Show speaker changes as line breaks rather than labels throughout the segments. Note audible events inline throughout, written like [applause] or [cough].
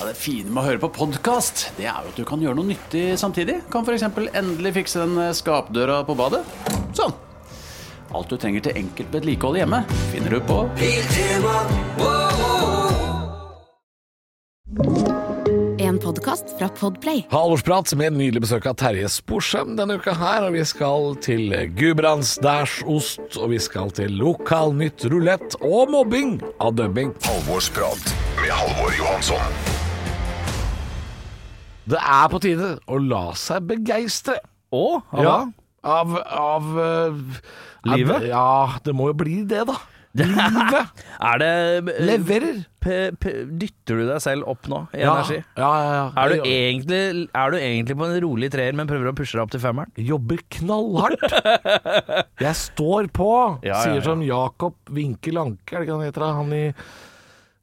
Ja, det fine med å høre på podkast, det er jo at du kan gjøre noe nyttig samtidig. Kan f.eks. endelig fikse den eh, skapdøra på badet. Sånn. Alt du trenger til enkelt vedlikehold hjemme, finner du på
En podkast fra Podplay.
Halvorsprat med nydelig besøk av Terje Sporsem denne uka her. Og vi skal til gudbrandsdærsost, og vi skal til lokal nytt rulett og mobbing av dubbing.
Halvorsprat med Halvor Johansson.
Det er på tide å la seg begeistre.
Å? Halvor?
Ja. Av, av eh,
Livet?
Av, ja, det må jo bli det,
[laughs]
da. Livet
Er det eh,
leverer.
p p Dytter du deg selv opp nå i
Ja,
energi?
ja, ja, ja.
Er du,
Jeg
egentlig, er du egentlig på en rolig treer, men prøver å pushe deg opp til femmeren?
Jobber [laughs] knallhardt. Jeg står på,
Ja, ja, ja.
sier som Jakob Winkel Anke, er det ikke han heter? da? Han i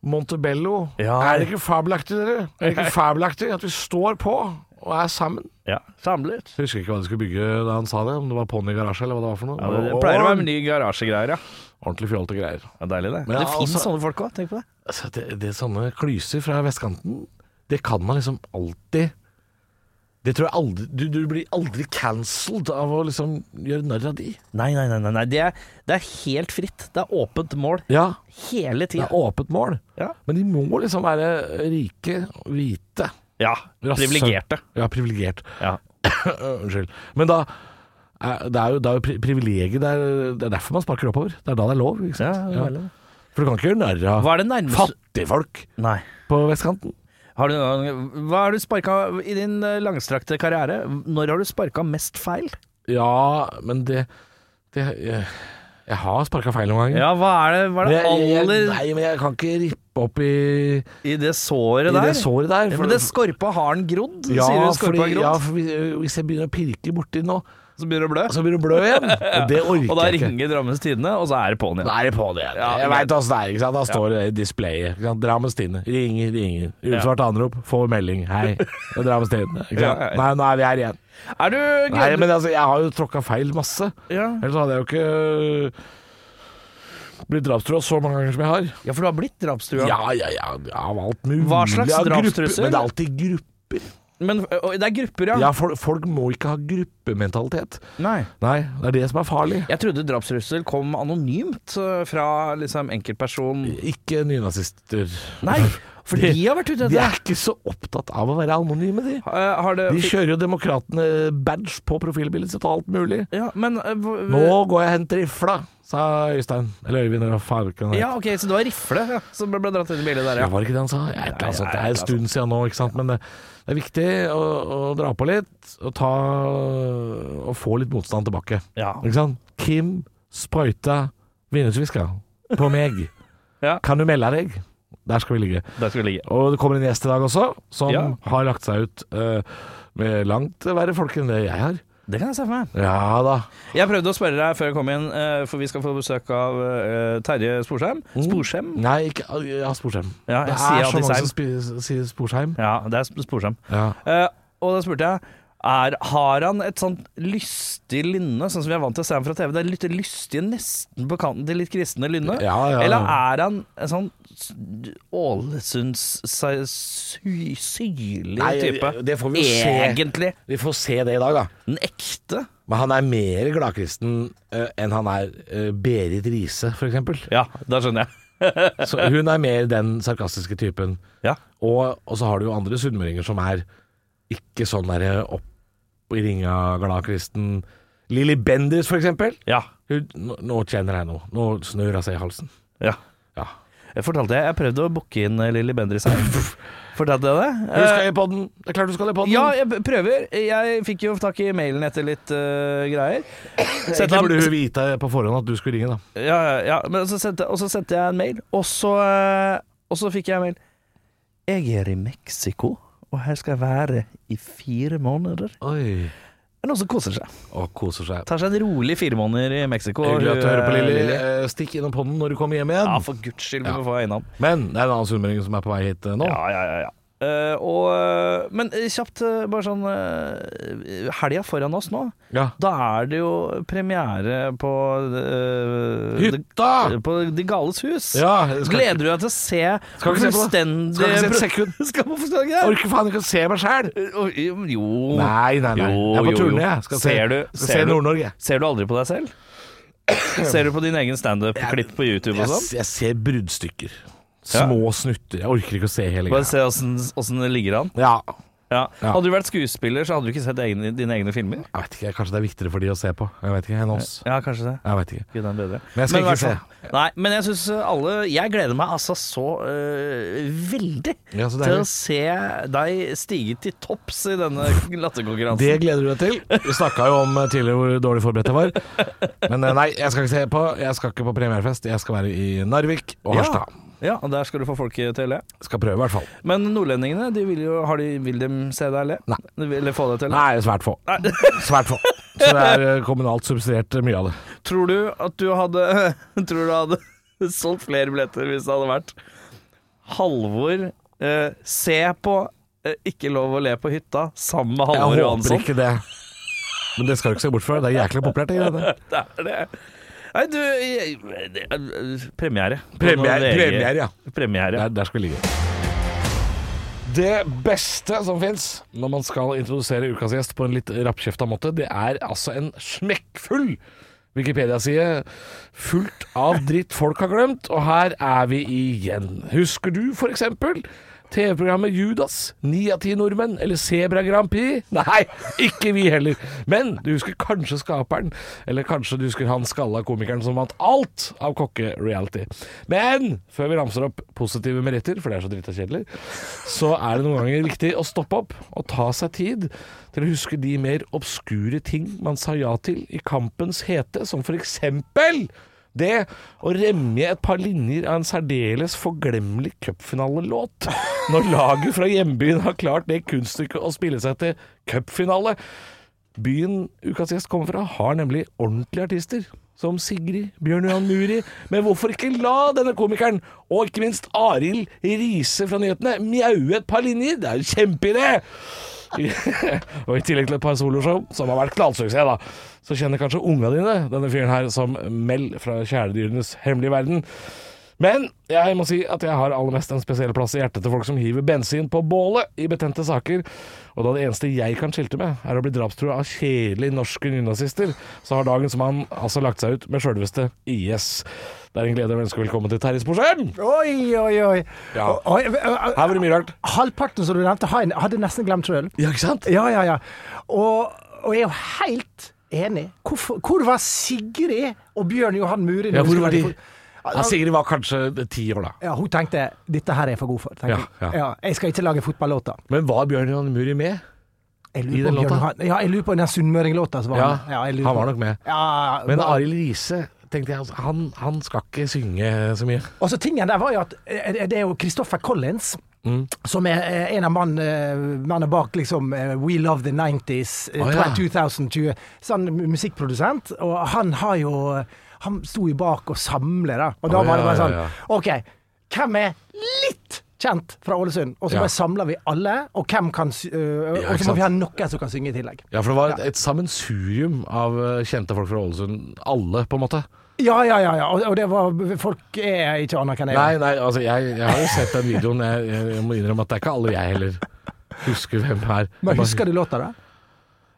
Montebello.
Ja.
Er det ikke fabelaktig, dere? Er det [laughs] ikke fabelaktig at vi står på og er sammen?
Ja, samlet.
Jeg husker ikke hva de skulle bygge da han sa det, om det var ponni garasje eller hva det var for noe.
Ja, det, det pleier å være med ny garasjegreier, ja.
Ordentlig fjolte greier.
ja. Deilig, det.
Men
det
ja,
finnes
altså-
sånne folk òg, tenk på det.
Altså, det, det er sånne klyser fra vestkanten, det kan man liksom alltid Det tror jeg aldri Du, du blir aldri cancelled av å liksom gjøre narr av de.
Nei, nei, nei. nei, nei. Det, er, det er helt fritt. Det er åpent mål
Ja,
hele
det
tida.
er åpent mål.
Ja.
Men de må liksom være rike, hvite
Ja.
rasse-
Privilegerte.
Ja, privilegert. [coughs]
Ja.
Unnskyld. Men da er- det er jo, det er jo pri- privilegiet det er, det er derfor man sparker oppover. Det er da det er lov. Ikke sant?
Ja, ja, veldig.
For du kan ikke gjøre narr av
Hva er det nærmeste
fattigfolk
Nei.
på vestkanten.
Har du, noen gang- hva har du sparka i din eh, langstrakte karriere? Når har du sparka mest feil?
Ja, men det, det jeg, jeg har sparka feil noen ganger.
Ja, hva er det, hva er det
Men jeg, jeg,
aller
nei, men jeg kan ikke rippe opp i,
I det såret
i
der?
det såret der.
Ja,
for-
men det skorpa har den grodd?
ja,
sier du skorpa
fordi,
har grodd?
ja, for hvis, hvis jeg begynner å pirke borti nå,
så begynner det å blø?
så begynner det å blø
[laughs]
igjen. Og det orker
Og da
jeg ikke.
ringer Drammens Tidende, og så er det på'n igjen.
Da er det på det.
Ja,
jeg
men-
veit åssen det er. ikke sant? Da står det i displayet. ikke sant? Drammens Tidende. Ringer, ringer. Utsvart anrop. Får melding.
[laughs]
Hei. Det er Drammens Tidende. ikke sant?
Ja, ja.
Nei, nå er vi her igjen.
Er du
Nei,
gleder-
men altså, jeg har jo tråkka feil masse.
ja.
Ellers hadde jeg jo ikke øh, blitt drapstrua så mange ganger som jeg har.
ja, for du har blitt drapstrua.
Ja, ja, ja, ja av alt mulig.
Hva slags
Ja, grupper-
drapstrussel?
Men det er alltid grupper.
Men ø, ø, det er grupper, ja.
Ja, folk, folk må ikke ha gruppementalitet.
Nei.
Nei, det er det som er farlig.
Jeg trodde drapstrussel kom anonymt ø, fra liksom enkeltperson.
Ikke nynazister.
Nei,
[laughs]
for de,
De-
har vært ute
De
etter
er ikke så opptatt av å være anonyme, de.
Ø, Har det
De kjører jo Demokratene-badge på profilbildet sitt og alt mulig.
Ja, men ø, hva-
Nå går jeg og henter rifla, sa Øystein. Eller Øyvind, eller hva faen ikke han het.
Ja, ok, så det var rifle ja, som ble dratt inn i bildet der,
Ja,
ja.
var det ikke det han sa? Jeg, vet ikke, altså,
Nei,
det
jeg vet
er en stund siden nå, ikke sant? men det, det er viktig å, å dra på litt og, ta, og få litt motstand tilbake.
Ja.
Ikke sant? Kim sprøyta vindusviska på meg.
[laughs] Ja.
Kan du melde deg? Der skal vi ligge.
Der skal det ligge.
Og det kommer en gjest i dag også, som
Ja.
har lagt seg ut eh, med langt verre folk enn det jeg har.
Det kan jeg se for meg.
Ja da.
Jeg prøvde å spørre deg før jeg kom inn, eh, for vi skal få besøk av eh, Terje Sporsheim.
Mm.
Sporsheim?
Nei, ikke ah, Ja, Sporsheim.
Ja,
det
jeg sier
er så
alltid
mange
Seim.
som spi- sier Sporsheim.
Ja, det er Sp- Sporsheim.
Ja.
Eh, og da spurte jeg er, Har han et sånt lystig lynne, sånn som vi er vant til å se ham fra TV? Det er litt lystige, nesten på kanten til litt kristne lynne?
Ja, ja.
Eller er han en sånn s- Ålesunds sy- sy- syrlig
Nei,
type?
det får vi jo se.
Egentlig.
Vi får se det i dag, da.
Den ekte?
Men han er mer gladkristen eh, enn han er eh, Berit Riise, f.eks.
Ja, da skjønner jeg.
Så hun er mer den sarkastiske typen.
Ja.
Og, og så har du jo andre sunnmøringer som er ikke sånn derre opp i ringa gladkristen. Lilly Bendriss, f.eks.
ja,
Hun, nå, nå kjenner jeg noe. Nå snør hun seg i halsen.
ja.
Ja.
Jeg fortalte jeg, jeg prøvde å booke inn eh, Lilly Bendriss her. [laughs] Fortalte jeg det?
Du skal i podden. Det er klart du skal i
Eh,
podden.
ja, jeg p- prøver. Jeg fikk jo tak i mailen etter litt eh, greier. Sendte
Egentlig
han-
burde hun vite på forhånd at du skulle ringe, da.
ja, ja, ja, men så sendte, og så sendte jeg en mail, og så, eh, og så fikk jeg en mail. Jeg er i Mexico, og her skal jeg være i fire måneder.
Oi.
Det er noen som koser seg.
Og koser seg.
Tar seg en rolig fire måneder i Mexico.
Hyggelig at du hører på,
eh,
Lilly. Eh, Stikk innom podden når du kommer hjem igjen.
Ja, for guds skyld, vi må få øynene.
Men det er en annen sunnmøring som er på vei hit eh, nå.
Ja, ja, ja, ja. Eh, og, eh, men eh, kjapt, eh, bare sånn uh, Helga foran oss nå,
Ja.
da er det jo premiere på eh,
Hytta!
det- På De gales hus.
Ja, jeg skal
Gleder du deg til å se
Skal ikke se på det.
fullstendig
Skal ikke se et sekund.
[laughs] Skal man forstå det?
Orker faen ikke å se meg sjæl!
Oi, Eh, Jo
Nei, nei, nei.
Jo,
jeg er på
jo, jo.
turné, jeg. Skal se,
Ser du,
skal
ser
se
du?
Nord-Norge.
Ser du aldri på deg
[coughs]
selv? Ser du på din egen standup-klipp på YouTube og
Jeg,
sånn?
jeg ser bruddstykker. Små snutter. Jeg orker ikke å se hele
Bare
greia.
se åssen åssen det ligger an.
Ja,
Ja.
Ja.
Hadde du vært skuespiller, så hadde du ikke sett egne, dine egne filmer.
jeg vet ikke, Kanskje det er viktigere for de å se på. Jeg vet ikke, enn oss.
Ja, kanskje det.
Jeg vet ikke.
Gud, den er bedre.
Men jeg skal
i
ikke
hvert fall- Nei, men jeg syns alle Jeg gleder meg altså så øh, veldig
Ja, så
til å
deilig.
se deg stige til topps i denne [laughs] latterkonkurransen.
Det gleder du deg til. Vi snakka jo om eh, tidligere hvor dårlig forberedt jeg var. Men eh, nei, jeg skal ikke se på Jeg skal ikke på premierefest. Jeg skal være i Narvik og
ja.
Harstad.
ja, og der skal du få folket til å le.
Skal prøve, i hvert fall.
Men nordlendingene, de vil jo har de, Vil de se deg le?
Nei.
De vil- Eller få deg til å le?
Nei, svært få. [laughs] Svært få. Så det er eh, kommunalt subsidiert eh, mye av det.
Tror du at du hadde [laughs] Tror du hadde [laughs] solgt flere billetter hvis det hadde vært Halvor eh, Se på eh, Ikke lov å le på hytta sammen med
Jeg
Halvor
håper
Johansson?
ikke det. Men det skal du ikke se bort fra. Det er jæklig populært. Det, greiene.
[laughs] Det er det. Nei, du jeg, det, er eh, Premiere.
Premiere-
På noen VG.
premiere, ja.
Premiere.
der, der skal vi ligge. Det beste som fins når man skal introdusere ukas gjest på en litt rappkjefta måte, det er altså en smekkfull Wikipedia-side fullt av dritt folk har glemt, og her er vi igjen. Husker du for eksempel TV-programmet Judas, ni av ti nordmenn eller Sebra Grand Prix? [laughs] Nei, ikke vi heller. Men du husker kanskje skaperen, eller kanskje du husker han skalla komikeren som vant alt av kokke-reality. Men før vi ramser opp positive meritter, for det er så dritt og kjedelig, så er det noen ganger viktig å stoppe opp og ta seg tid til å huske de mer obskure ting man sa ja til i kampens hete, som for eksempel det å remje et par linjer av en særdeles forglemmelig cupfinalelåt når laget fra hjembyen har klart det kunststykket å spille seg til cupfinale. Byen ukas gjest kommer fra, har nemlig ordentlige artister. Som Sigrid, Bjørn Johan Muri. Men hvorfor ikke la denne komikeren, og ikke minst Arild Riise fra Nyhetene, mjaue et par linjer? Det er jo en kjempeidé! [laughs] og i tillegg til et par soloshow, som har vært knallsuksess, da, så kjenner kanskje unga dine denne fyren her som Mel fra Kjæledyrenes hemmelige verden. Men jeg må si at jeg har aller mest en spesiell plass i hjertet til folk som hiver bensin på bålet i betente saker. Og da det eneste jeg kan skilte med, er å bli drapstrua av kjedelige norske nynazister, så har dagens mann altså lagt seg ut med sjølveste IS. Det er en glede å ønske velkommen til Terje Sporsem!
Oi, oi, oi.
Ja.
Og- og- og-
Her var det mye rart.
Halvparten som du nevnte, har jeg- hadde jeg nesten glemt sjøl.
Ja, ikke sant?
Ja, ja, ja. Og, og jeg er jo helt enig. Hvorfor, hvor var Sigrid og Bjørn Johan Muri? når
Ja,
vi
hvor
skulle
var
være i
de?
for-
Ja, Sigrid var kanskje ti år da.
Ja, hun tenkte 'dette her er jeg for god for'. tenkte
Ja, ja.
jeg. Ja, jeg skal ikke lage fotballåter.
Men var Bjørn Johan Muri med?
Jeg
I
lurer
den
på, Bjørn
låta?
Johan- ja, jeg lurer på den sunnmøringlåta som var
Ja,
med. jeg lurer
han
på-
var nok med.
Ja,
Men
bare-
Arild Riise tenkte jeg, altså, han, han skal ikke synge så mye.
Og så Altså, tingen der var jo at eh, det er jo Christopher Collins.
Mm.
Som er eh, en av mann, eh, mennene bak liksom eh, We Love the 90s, eh,
Å, ja.
2020. Så han er sånn musikkprodusent, og han har jo Han sto jo bak og samler, da. Og da
Å,
var det
ja,
bare sånn
ja,
OK, hvem er litt kjent fra Ålesund? Og så
Ja.
bare samler vi alle, og hvem kan sy- eh,
Ja, ikke
Og så må vi ha
sant?
noen som kan synge i tillegg.
Ja, for det var et, et sammensurium av eh, kjente folk fra Ålesund. Alle, på en måte.
Ja, ja, ja. ja. Og, og det var Folk er ikke aner hvem jeg er.
Nei, nei, altså jeg, jeg har jo sett den videoen. Jeg, jeg, jeg må innrømme at det er ikke alle jeg heller husker hvem er.
Men husker du låta, da?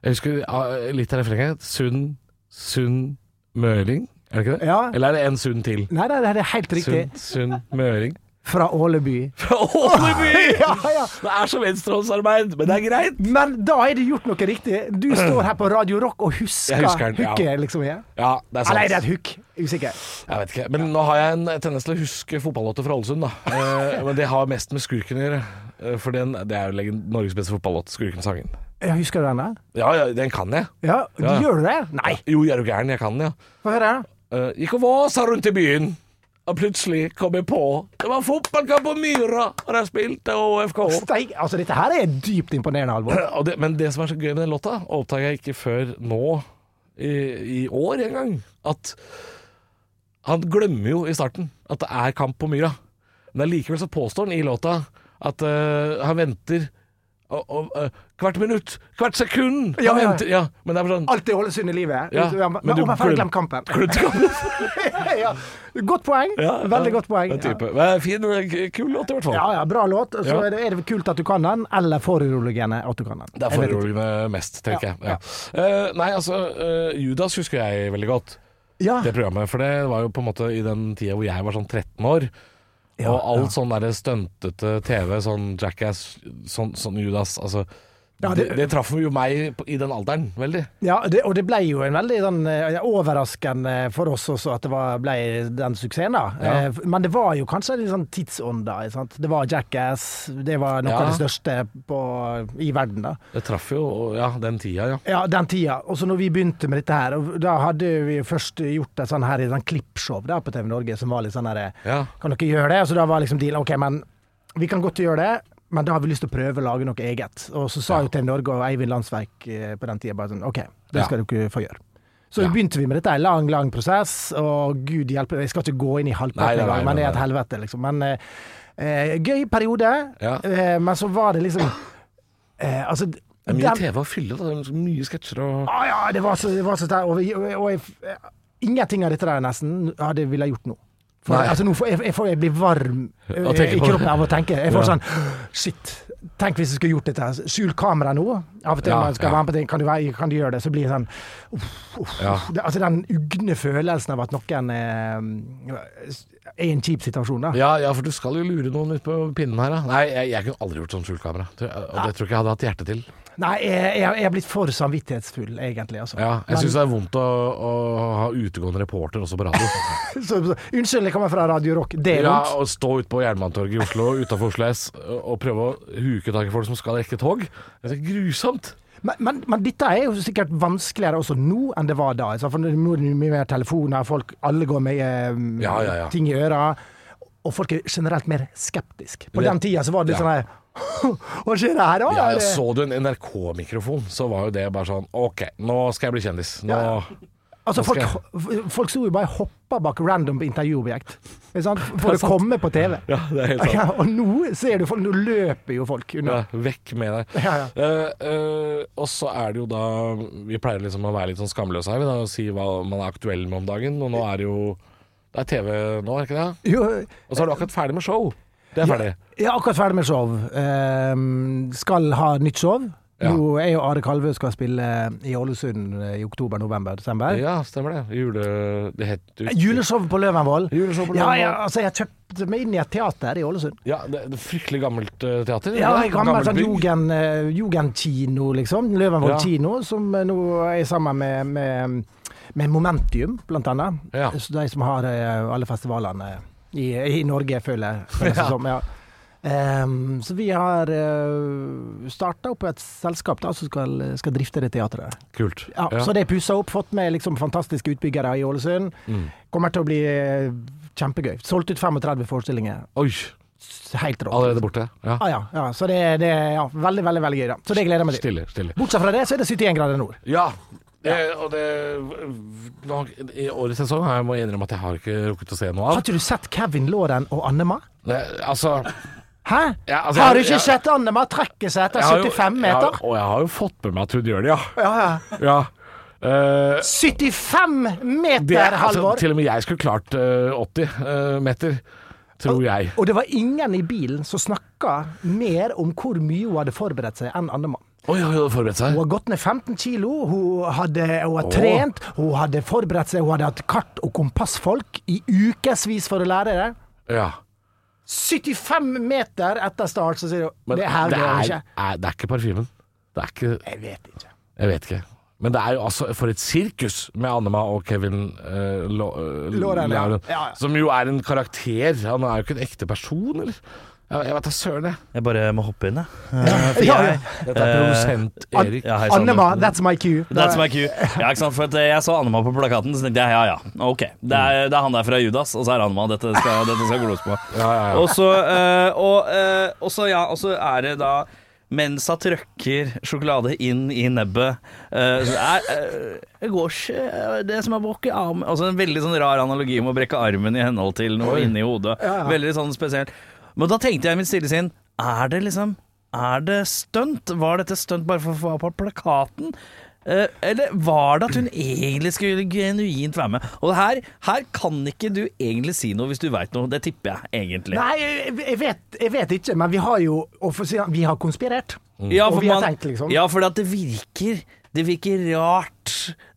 Jeg husker ah, litt av refrenget. Sund, Sund Møring, er det ikke det?
Ja.
Eller er det en Sund til?
Nei, nei, nei, det er helt riktig.
Sund, Sund Møring.
Fra Åleby.
Fra [laughs] Åleby!
Ja, ja.
Det er så venstrehåndsarbeid, men det er greit.
Men da er det gjort noe riktig.
[clears throat]
Du står her på Radio Rock og husker,
Jeg husker den, ja.
hooket, liksom. Ja.
Ja, det er sant.
Eller er det et hook? Usikker.
Jeg vet ikke. Men nå har jeg en tendens til å huske fotballåter fra Ålesund, da. Eh, men det har mest med Skurken å gjøre. Eh, For den, det er jo legend- Norges beste fotballåt, Skurken-sangen.
Ja, husker du den der?
Ja, ja, den kan jeg.
Ja,
Ja.
Gjør du det? Nei,
Jo, jeg er jo gæren, jeg kan den, ja.
få høre. her, da.
Eh, gikk og vasa rundt i byen, og plutselig kom jeg på Det var fotballkamp på Myra, og der spilte HFK.
Steik, altså Dette her er dypt imponerende, Halvor.
[clears throat] Og det, men det som er så gøy med den låta, oppdaga jeg ikke før nå i, i år engang, at han glemmer jo i starten at det er kamp på Myra. Men allikevel så påstår han i låta at eh, han venter og, og, eh, hvert minutt, hvert sekund! Han
Ja, ja.
venter, ja, men det er bare sånn
Alt det holdes under livet.
Ja,
men, men,
men du
å, men faen, jeg
glem-
glem kampen. [laughs]
Klubbkampen.
ja. Godt poeng. Veldig godt poeng.
Den
Ja.
type. Men Fin, k- kul låt i hvert fall.
Ja, ja, Bra låt. Så
Ja.
er, det, er det kult at du kan den, eller foruroligende at du kan den.
Det er
Jeg vet
foruroligende mest, tenker jeg. Ja. Eh, nei, altså, eh, Judas husker jeg veldig godt,
ikke. Ja.
det programmet. For det var jo på en måte i den tida hvor jeg var sånn 13 år. og alt sånn derre stuntete TV, sånn Jackass, sånn, sånn Judas Altså,
Ja,
det,
det-
det traff jo meg på- i den alderen, veldig.
Ja, det, og det ble jo en veldig sånn, eh, overraskende for oss også at det var, ble den suksessen. da. Eh, Men det var jo kanskje litt sånn tidsånd da. ikke Sant? Det var Jackass, det var noe
Ja.
av det største på, i verden da.
Det traff jo ja, den tida, ja.
Ja, den tida. Og så når vi begynte med dette her, og da hadde vi først gjort et sånn her i sånn klippshow da, på TV Norge som var litt sånn herre
Ja.
Kan dere gjøre det? Og så da var liksom dealen OK, men vi kan godt gjøre det. Men da har vi lyst til å prøve å lage noe eget. Og så sa jo TV Norge og Eivind Landsverk eh, på den tida bare sånn OK,
Ja.
det skal dere få gjøre. Så
Ja.
begynte vi med dette. En lang, lang prosess. Og gud hjelpe Jeg skal ikke gå inn i
Nei,
halvparten
nei,
engang,
nei,
men det
nei,
er et
nei.
helvete, liksom. Men eh, eh, gøy periode.
Ja.
Eh, men så var det liksom eh, Altså
Det er mye
den-
TV å fylle, da. Det er mye sketsjer og
Ah, ja, det var så, det var så sterkt. Og, vi- og, og jeg, eh, ingenting av dette der nesten hadde ville jeg gjort nå. For,
Nei.
altså, nå får, jeg, jeg, får, jeg blir varm eh,
Av å tenke
i
på det.
kroppen av å tenke. Jeg får
Ja.
sånn Shit. Tenk hvis jeg skulle gjort dette. her. Skjul kamera nå. Av og til
Ja,
når man skal
ja.
være med på ting. Kan du, være- kan du gjøre det? Så blir jeg sånn uff,
Ja.
uff. Det, Altså den ugne følelsen av at noen eh, er i en kjip situasjon, da.
ja, ja, for du skal jo lure noen ut på pinnen her, da. Nei, jeg, jeg kunne aldri gjort sånn skjult kamera. Tror jeg- Og det tror jeg ikke jeg hadde hatt hjerte til.
Nei, jeg, jeg, jeg er blitt for samvittighetsfull, egentlig. Altså.
Ja,
Men-
jeg syns det er vondt å, å ha utegående reporter også på radio.
så, så, unnskyld, jeg kommer fra Radio Rock. [laughs] Det er
Ja, Å
vondt.
stå ute på Jernbanetorget i Oslo, utafor Oslo S, og prøve å huke tak i folk som skal rekke tog. Det er så grusomt.
Men, men, men dette er jo sikkert vanskeligere også nå enn det var da. altså, For nå er det mye mer telefoner, folk, alle går med eh,
Ja, ja, ja.
ting i øra. Og folk er generelt mer skeptisk. På
Det-
den tida så var det litt
Ja.
sånn her [laughs] Hva skjer her, da?
Ja,
Er
ja,
det-
så du en NRK-mikrofon, så var jo det bare sånn OK, nå skal jeg bli kjendis. Nå
Ja, altså, folk,
skal
folk sto jo bare og hoppa bak random intervjuobjekt
[laughs]
ikke sant? for å komme på TV.
Ja, det er helt sant.
[laughs] Ja, og nå ser du folk, nå løper jo folk
ja,
unna.
Vekk med deg.
Ja,
Eh, eh, og så er det jo da Vi pleier liksom å være litt sånn skamløse her, vi da, og si hva man er aktuell med om dagen. Og nå er det jo Det er TV nå, er det ikke det?
Jo,
Og så er du akkurat ferdig med show. Det er ferdig.
Jeg er akkurat ferdig med show. Ehm, skal ha nytt show.
Ja.
Nå er jo Are Kalvø skal spille i Ålesund eh, i oktober, november, desember.
Ja, stemmer det. Jule... Det heter
Eh,
jo
Juleshow på Løvenvoll.
Juleshow på
Ja,
Løvenvoll.
ja, altså, jeg kjøpte meg inn i et teater i Ålesund.
Ja, det det er fryktelig gammelt eh, teater.
Ja,
Det
jeg
er
gammel sånn
bygg.
jugend, eh, jugendkino, liksom.
Ja.
Løvenvoll kino, som eh, nå er sammen med, med, med Momentium, blant annet.
Ja.
Så de som har eh, alle festivalene i, i Norge, føler jeg. føles det som, ja. Ehm, så vi har uh, starta opp et selskap da, som skal, skal drifte det teatret.
Kult.
Ja, Så det er pussa opp, fått med liksom, fantastiske utbyggere i Ålesund. Kommer til å bli eh, kjempegøy. Solgt ut 35 forestillinger.
Oi,
Helt rått.
allerede borte. Ja.
Ah, ja, ja, så det er ja, veldig, veldig veldig gøy. da Så det gleder jeg meg til.
Stille, stille.
Bortsett fra det, så er det 71 grader nord.
Ja. Eh, og det nå, I årets sesong har jeg må jeg innrømme at jeg har ikke rukket å se noe
Har
av.
ikke du sett Kevin Lauren og Annema?
Det, altså,
Hæ?
Ja, altså,
har du
jeg-
ikke
jeg-
sett Annema trekke seg etter
jeg har jo-
75
jeg har-
meter?
Og jeg har jo fått med meg at hun gjør det, ja.
Ja, ja.
ja. Eh,
75 meter,
det, altså,
Halvor!
til og med jeg skulle klart eh, 80 eh, meter, tror jeg.
Og det var ingen i bilen som snakka mer om hvor mye hun hadde forberedt seg, enn Annema.
Oi, hun hadde forberedt seg.
Hun har gått ned 15 kilo, hun hadde, hun har
Åh.
trent, hun hadde forberedt seg, hun hadde hatt kart- og kompassfolk i ukevis for å lære det.
Ja.
75 meter etter start, så sier hun
Men
Det her
det,
går
er,
ikke.
er, det er ikke parfymen. Det er ikke
Jeg vet ikke.
Jeg vet ikke. Men det er jo altså for et sirkus med Annema og Kevin uh,
Lauren, ja. Ja, ja.
Som jo er en karakter. Han er jo ikke en ekte person, eller? Jeg, jeg vet da søren, jeg.
Jeg bare må hoppe inn, jeg. Eh, for
Ja,
jeg-
Dette er
Eh,
produsent
An-
Erik.
Ja, hei, Sander.
Annema, that's my cue.
That's my cue. Ja, ikke sant? For at eh, jeg så Annema på plakaten, så tenkte jeg ja, ja, ok. Det er, det er han der fra Judas, og så er det Annema. Dette skal, dette skal glos på.
Ja, ja, ja.
Og så eh, og, eh, og så, ja, og så er det da mens han trøkker sjokolade inn i nebbet eh, så er, eh, Det går ikke eh, Det som er brukket arm Altså En veldig sånn rar analogi om å brekke armen i henhold til noe inni hodet. Veldig sånn spesielt. Men da tenkte jeg i mitt stille sinn Er det liksom Er det stunt? Var dette stunt bare for å få være på plakaten? Eh, eller var det at hun egentlig skulle genuint være med? Og her, her kan ikke du egentlig si noe hvis du veit noe. Det tipper jeg egentlig.
Nei, jeg, jeg, vet, jeg vet ikke, men vi har jo og for å si- Vi har konspirert.
Ja,
Og
for
vi har
man-
tenkt, liksom.
Ja, for at det virker Det virker rart.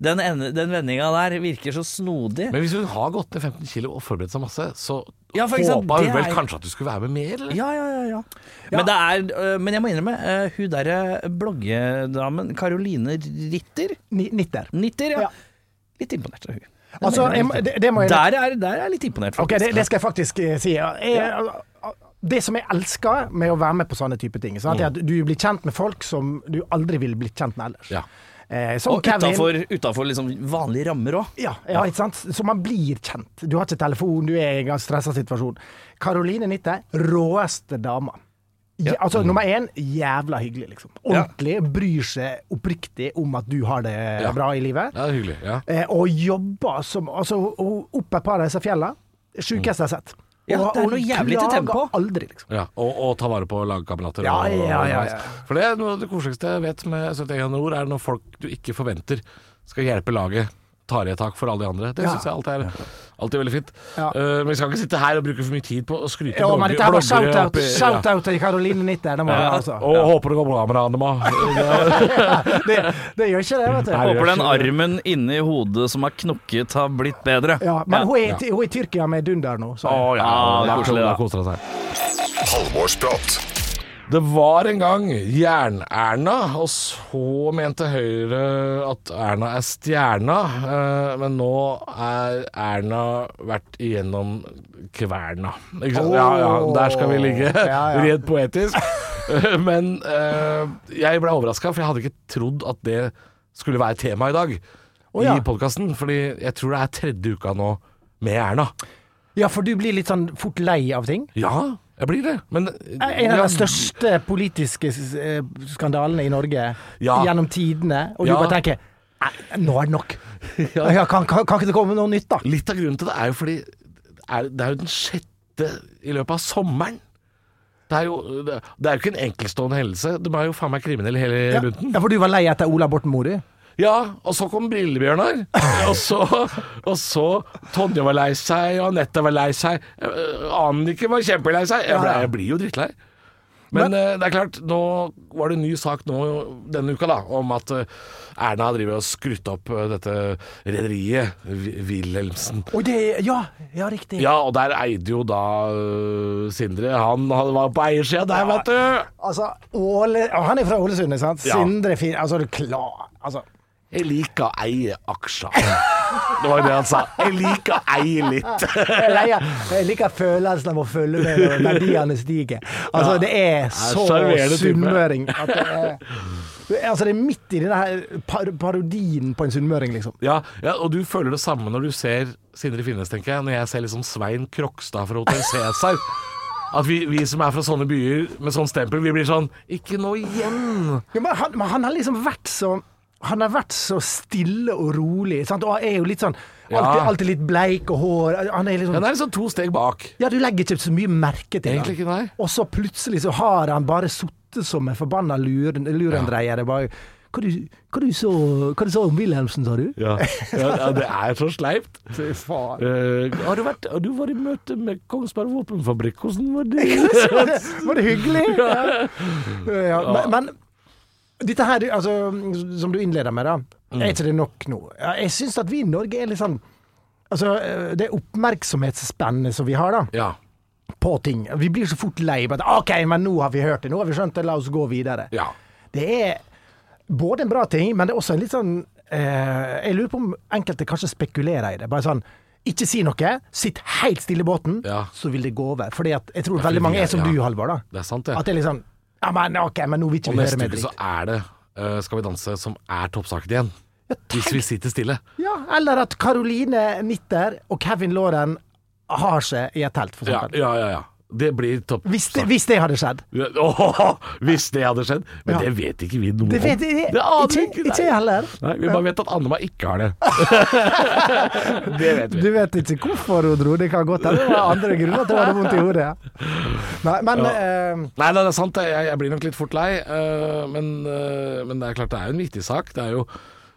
Den, ene- den vendinga der virker så snodig.
Men hvis hun har gått ned 15 kilo og forberedt seg masse, så
Ja, for ikke sant,
håpa hun
det
vel
er-
kanskje at du skulle være med mer, eller?
Ja, ja, ja, ja. Men, det er, øh, men jeg må innrømme, øh, hun derre bloggedamen Caroline Ritter
Ni- Nitter.
Nitter, ja.
Ja.
Litt imponert av hun. Det
Altså,
mener jeg
jeg,
virkelig.
må- det, det må jeg
der, er, der er jeg litt imponert,
Ok,
faktisk.
det, det skal jeg faktisk eh, si. ja. Jeg, det som jeg elsker med å være med på sånne type ting, sant,
Mm.
er at du blir kjent med folk som du aldri ville blitt kjent med ellers.
Ja.
Eh, som
Og
Kevin.
utafor, utafor liksom vanlige rammer òg.
Ja, ja, ikke sant? Så man blir kjent. Du har ikke telefon, du er i en stressa situasjon. Caroline Nitte, råeste dama. Ja, altså Nummer én, jævla hyggelig, liksom. Ordentlig. Bryr seg oppriktig om at du har det
Ja.
bra i livet.
Ja, det er hyggelig. Ja.
Eh, og jobber som Altså, hun- opp et par av disse fjellene. Sjukeste jeg har sett.
Ja,
Og
det er
hun
noe jævlig til
klager
tempo.
aldri, liksom.
Ja, og, og ta vare på lagkamerater.
Ja,
og-
ja, ja, ja.
og- For det er noe av det koseligste jeg vet med 71 ord, er når folk du ikke forventer skal hjelpe laget, tar i et tak for alle de andre. Det
Ja.
synes syns jeg alltid er, alltid er veldig fint.
Ja.
Eh, men vi skal ikke sitte her og bruke for mye tid på å skryte
Ja, men
blogger-
dette her var
bloggere
shout-out
oppi- ja.
shout til Caroline Nitter. Det, må jeg, altså.
Og håper det går bra med deg, Annema.
det, det gjør ikke det, vet du.
Nei,
Håper den
ikke-
armen inni hodet som har knokket, har blitt bedre.
Ja, men Hun, er, i- hun er i Tyrkia med dunder nå. Så.
Å ja,
Ah,
da
koselig,
da
da.
koser hun seg.
Halvorsprat.
Det var en gang Jern-Erna, og så mente Høyre at Erna er stjerna. eh, Men nå er Erna vært igjennom kverna. Ikke sant? Ja, ja, der skal vi ligge.
Ja,
[laughs]
ja.
Rent poetisk. Men eh, jeg ble overraska, for jeg hadde ikke trodd at det skulle være tema i dag
ja.
i podkasten. Fordi jeg tror det er tredje uka nå med Erna.
Ja, for du blir litt sånn fort lei av ting.
Ja, jeg blir det. Men
En av
Ja,
de største politiske eh, skandalene i Norge
Ja.
gjennom tidene, og du
Ja.
bare tenker "Nei, nå er det nok.
[laughs]
Ja, kan, kan, kan ikke det komme noe nytt, da?
Litt av grunnen til det er jo fordi er, Det er jo den sjette i løpet av sommeren. Det er jo, det det er jo ikke en enkeltstående hendelse. De er jo faen meg kriminelle hele
Ja,
bunten.
ja, for du var lei etter Ola Borten Moe, du?
Ja, og så kom Brillebjørnar. Og så, og så Tonje var lei seg, og Anette var lei seg. øh, Annike var kjempelei seg. Jeg, ble, jeg blir jo drittlei. Men, eh, det er klart, nå var det en ny sak nå denne uka da, om at eh, Erna driver og skrutt opp eh, dette rederiet, Vi- Wilhelmsen.
Oi, det Ja, ja riktig.
Ja, og der eide jo da øh, Sindre. Han hadde- var på eiersida der, vet du.
Altså, Åle, og han er fra Ålesund, ikke sant?
Ja.
Sindre Finn Altså, er du klar Altså,
Jeg liker å eie aksjer. Det var jo det han sa. Jeg liker å eie litt. [laughs]
jeg, leier, jeg liker følelsen av å følge med når verdiene stiger. Altså, det er så
sjarmerende type.
sunnmøring at det er det er- Altså, det er midt i den her par parodien på en sunnmøring, liksom.
Ja, ja, og du føler det samme når du ser Sindre Finnes, tenker jeg. Når jeg ser liksom Svein Krokstad fra Hotell Cæsar. At vi, vi som er fra sånne byer med sånn stempel, vi blir sånn Ikke nå igjen!
Ja, men, han, men han har liksom vært så han har vært så stille og rolig, sant? og han er jo litt sånn alltid,
Ja.
alltid litt bleik og hår Han
Han
er liksom
er liksom to steg bak.
Ja, du legger ikke så mye merke til
Egentlig ikke,
han.
nei.
Og så plutselig så har han bare sittet som en forbanna lur, lurendreier. Det er Bare, hva du, hva du så Hva du sa om Wilhelmsen, sa du?
Ja, ja, ja det er så sleipt.
Fy faen.
Eh, har, du vært, har du vært i møte med Kongsberg våpenfabrikk? Hvordan var det?
Var det, var det hyggelig? [laughs] Ja. Ja, men, men dette her, du, altså, som du innleder med, da. Er ikke det nok nå? Ja, Jeg syns at vi i Norge er litt sånn Altså, det oppmerksomhetsspennet som vi har, da.
Ja.
på ting. Vi blir så fort lei på at OK, men nå har vi hørt det, nå har vi skjønt det, la oss gå videre.
Ja.
Det er både en bra ting, men det er også en litt sånn eh, Jeg lurer på om enkelte kanskje spekulerer i det. Bare sånn ikke si noe, sitt helt stille i båten,
Ja.
så vil det gå over. Fordi at jeg tror
fordi
veldig mange
vi er-
er som
ja.
du, Halvor. da.
Det er sant, det.
At det er litt sånn Ja, men OK, men nå vil ikke
Og
vi høre
neste
mer
uke så
dritt.
er det eh, Skal vi danse som er toppsaken igjen. Hvis vi sitter stille.
Ja, eller at Caroline Nitter og Kevin Lauren har seg i et telt, for
Ja,
eksempel.
ja, ja. ja. Det blir topp.
Hvis det, hvis det hadde skjedd.
Åh, [laughs] hvis det hadde skjedd. Men
Ja.
det vet ikke vi noe
Det vet
om.
jeg
Det aner vi
ikke,
nei.
ikke jeg heller.
Nei, vi bare vet at Annema ikke
[laughs]
har det. det vet vi.
Du vet ikke hvorfor hun dro, det kan godt hende det var andre grunner til at hun hadde vondt i hodet. Nei, men eh,
Nei, nei, det er sant. det. Jeg, jeg blir nok litt fort lei. eh, men, eh, men det er klart det er jo en viktig sak. Det er jo,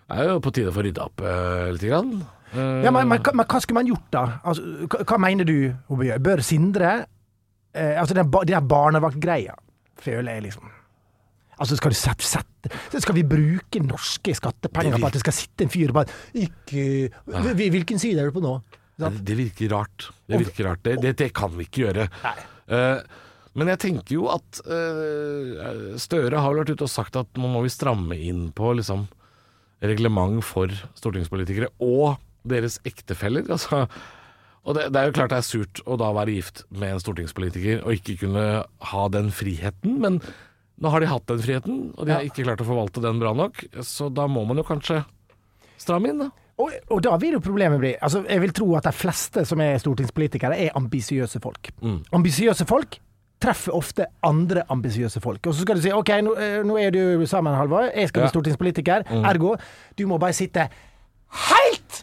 det er jo på tide å få rydda opp eh, lite grann. Eh,
ja, men, men, hva- men hva skulle man gjort da? Altså, hva, hva mener du, Hobbjørg? Bør Sindre eh, Altså, den, ba- den der barnevaktgreia, føler jeg liksom Altså, skal, du sette, sette, skal vi bruke norske skattepenger på at det skal sitte en fyr og bare ikke, hvil- Hvilken side er du på nå?
Nei, det, det virker rart. Det virker rart. Det, det, det kan vi ikke gjøre. Eh, men jeg tenker jo at eh, Støre har vel vært ute og sagt at nå må vi stramme inn på liksom, reglement for stortingspolitikere og deres ektefeller. Altså, og det, det er jo klart det er surt å da være gift med en stortingspolitiker og ikke kunne ha den friheten, men nå har de hatt den friheten, og de har ikke klart å forvalte den bra nok, så da må man jo kanskje stramme inn, da.
Og, og da vil jo problemet bli altså Jeg vil tro at de fleste som er stortingspolitikere, er ambisiøse folk.
Mm.
Ambisiøse folk treffer ofte andre ambisiøse folk. Og så skal du si OK, nå, eh, nå er du sammen, Halvor. Jeg
Ja. Mm.
skal bli stortingspolitiker. Ergo, du må bare sitte helt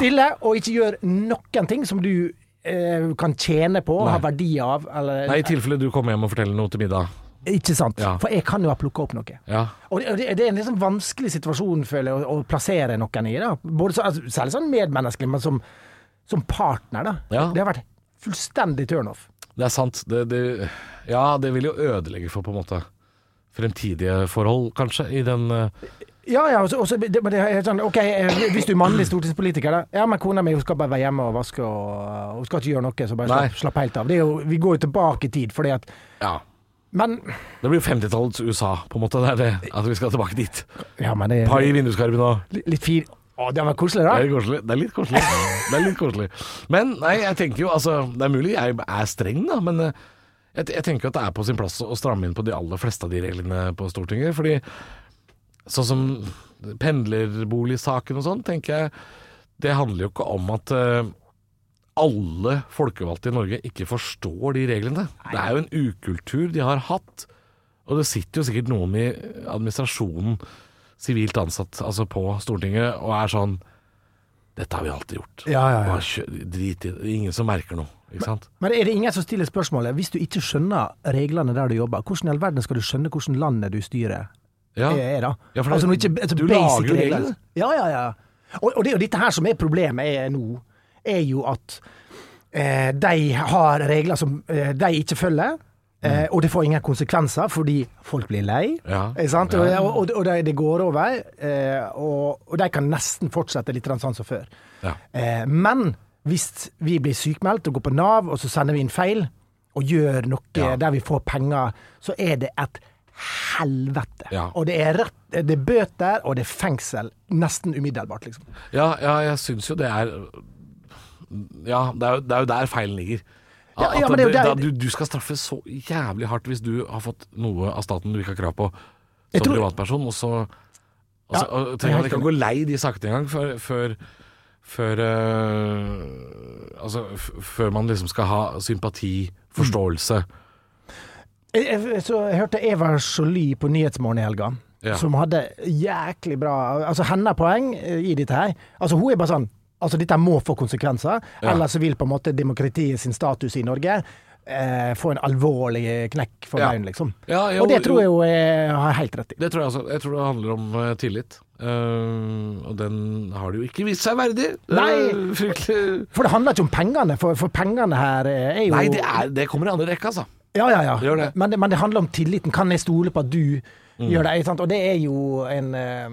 stille og ikke gjøre noen ting som du eh, kan tjene på, ha verdi av, eller
Nei, i tilfelle du kommer hjem og forteller noe til middag.
Ikke sant?
Ja.
For jeg kan jo ha plukka opp noe.
Ja.
Og det, og det, det er en liksom vanskelig situasjon, føler jeg, å, å plassere noen i. da. Både så, altså, særlig sånn medmenneskelig, men som, som partner, da.
Ja.
Det har vært fullstendig turnoff.
Det er sant. Det, det, ja, det vil jo ødelegge for på en måte fremtidige forhold, kanskje, i den eh,
Ja, ja, og så- og så- det, men det er helt sånn, ok, eh, Hvis du er mannlig stortingspolitiker, da. Ja, men kona mi hun skal bare være hjemme og vaske og hun skal ikke gjøre noe, så bare
Nei.
slapp, slapp helt av. Det er jo, vi går jo tilbake i tid, fordi at
Ja.
Men
Det blir jo 50-tallets USA, på en måte. Det er det. At vi skal tilbake dit.
Ja, men det
Pai i
er
vinduskarmen og
litt- litt fin Å, det var koselig, da.
Det er litt koselig. Det er litt koselig. Det er litt koselig. Men nei, jeg tenker jo altså Det er mulig jeg er streng, da, men eh, jeg, jeg tenker at det er på sin plass å stramme inn på de aller fleste av de reglene på Stortinget. Fordi sånn som pendlerboligsaken og sånn, tenker jeg Det handler jo ikke om at eh, alle folkevalgte i Norge ikke forstår de reglene. Det er jo en ukultur de har hatt. Og det sitter jo sikkert noen i administrasjonen, sivilt ansatt, altså på Stortinget, og er sånn Dette har vi alltid gjort.
Ja, ja, ja.
Bare kjø- Drit i det. Det er Ingen som merker noe. Ikke sant?
Men er det ingen som stiller spørsmålet hvis du ikke skjønner reglene der du jobber, hvordan i all verden skal du skjønne hvordan landet du styrer?
Ja.
er, er da.
Ja, for det-
altså, når ikke, altså,
du
basic
lager jo
regler.
reglene.
Ja, ja, ja. Og, og det er jo dette her som er problemet er nå, er jo at eh, de har regler som eh, de ikke følger. Eh, og det får ingen konsekvenser, fordi folk blir lei.
Mm. Ja.
Ikke sant? Og,
Ja.
og, og, det- det går over. Eh, og, og de kan nesten fortsette litt sånn som før.
Ja.
Eh, men hvis vi blir sykmeldt og går på Nav, og så sender vi inn feil, og gjør noe
Ja.
der vi får penger, så er det et helvete.
Ja.
Og det er, rett, det er bøter, og det er fengsel. Nesten umiddelbart, liksom.
Ja, ja jeg syns jo det er Ja, det er jo, det er jo der feilen ligger.
Ja, ja,
At
men det er jo
da-
der-
du, du skal straffes så jævlig hardt hvis du har fått noe av staten du ikke har krav på som
Jeg tror-
privatperson, og så og så-
Ja,
og
jeg er
trenger man
helt
ikke å gå lei de sakene engang før, før, før eh, Altså f før man liksom skal ha sympati,
Mm.
forståelse
Jeg, jeg, Eh, så jeg hørte Eva Jolie på Nyhetsmorgen i helga,
Ja.
som hadde jæklig bra Altså hennes poeng eh, i dette her Altså Hun er bare sånn Altså Dette må få konsekvenser,
Ja.
ellers så vil på en måte demokratiet sin status i Norge eh, få en alvorlig knekk for
Ja.
beinet, liksom.
Ja, jo,
Og det
jo.
tror jeg jo jeg har helt rett i.
Det tror jeg også. Jeg tror det handler om eh, tillit. Eh, og den har det jo ikke vist seg verdig. Det er
Nei.
Fryktelig
For det handler ikke om pengene, for, for pengene her eh, er jo
Nei, det, er, det kommer i andre rekke, altså.
Ja, ja, ja.
Gjør det. Mm.
Men, det, men det handler om tilliten. Kan jeg stole på at du gjør det? Sant? Og det er jo en eh,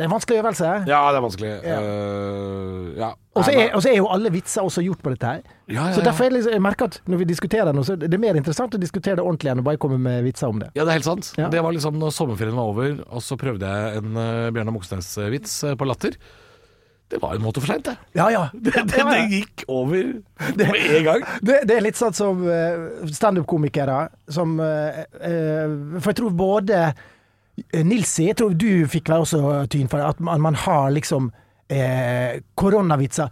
Det er en vanskelig øvelse.
Ja, det er vanskelig.
Ja.
Eh, ja.
Og så
Nei,
er, og så er jo alle vitser også gjort på dette her.
Ja, ja,
Så
ja.
derfor er det liksom, jeg merker at når vi diskuterer noe, så er det mer interessant å diskutere det ordentlig enn å bare komme med vitser om det.
Ja, det er helt sant.
Ja.
Det var liksom når sommerferien var over, og så prøvde jeg en eh, Bjørnar Moxnes-vits eh, på latter. Det var en måte for seint, det.
Ja, ja.
[laughs] Det, det, det gikk over med en gang.
Det, det er litt sånn som eh, standup-komikere som eh, eh, For jeg tror både eh, Nilsi, jeg tror du fikk vel også tyn for det, at man, man har liksom eh, koronavitser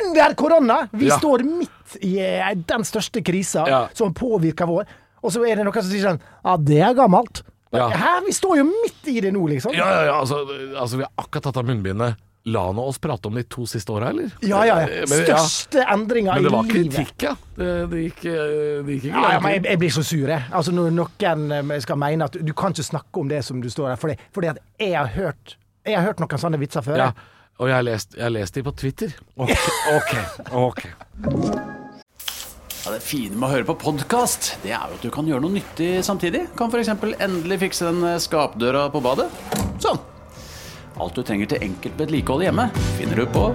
under korona! Vi
Ja.
står midt i eh, den største krisa
Ja.
som påvirker vår. Og så er det noen som sier sånn Ja, det er gammelt.
Ja.
Hæ? Vi står jo midt i det nå, liksom.
Ja, ja, ja, altså, altså vi har akkurat tatt av munnbindet. La nå oss prate om de to siste åra, eller? Eh,
Ja, ja, ja.
Men, ja.
Største endringa i
Men det var
livet.
kritikk, ja. Det, det, gikk, eh, det gikk ikke
Ja, ja, men jeg,
langt.
jeg blir så sur, jeg. Altså, når noen eh, skal mene at du kan ikke snakke om det som du står her, fordi, fordi at jeg har hørt jeg har hørt noen sånne vitser før.
Ja, og jeg har lest, jeg har lest de på Twitter. Ok, ok. ok.
Ja, det fine med å høre på podkast, det er jo at du kan gjøre noe nyttig samtidig. Kan f.eks. endelig fikse den eh, skapdøra på badet. Sånn. Alt du trenger til enkelt vedlikehold hjemme, finner du på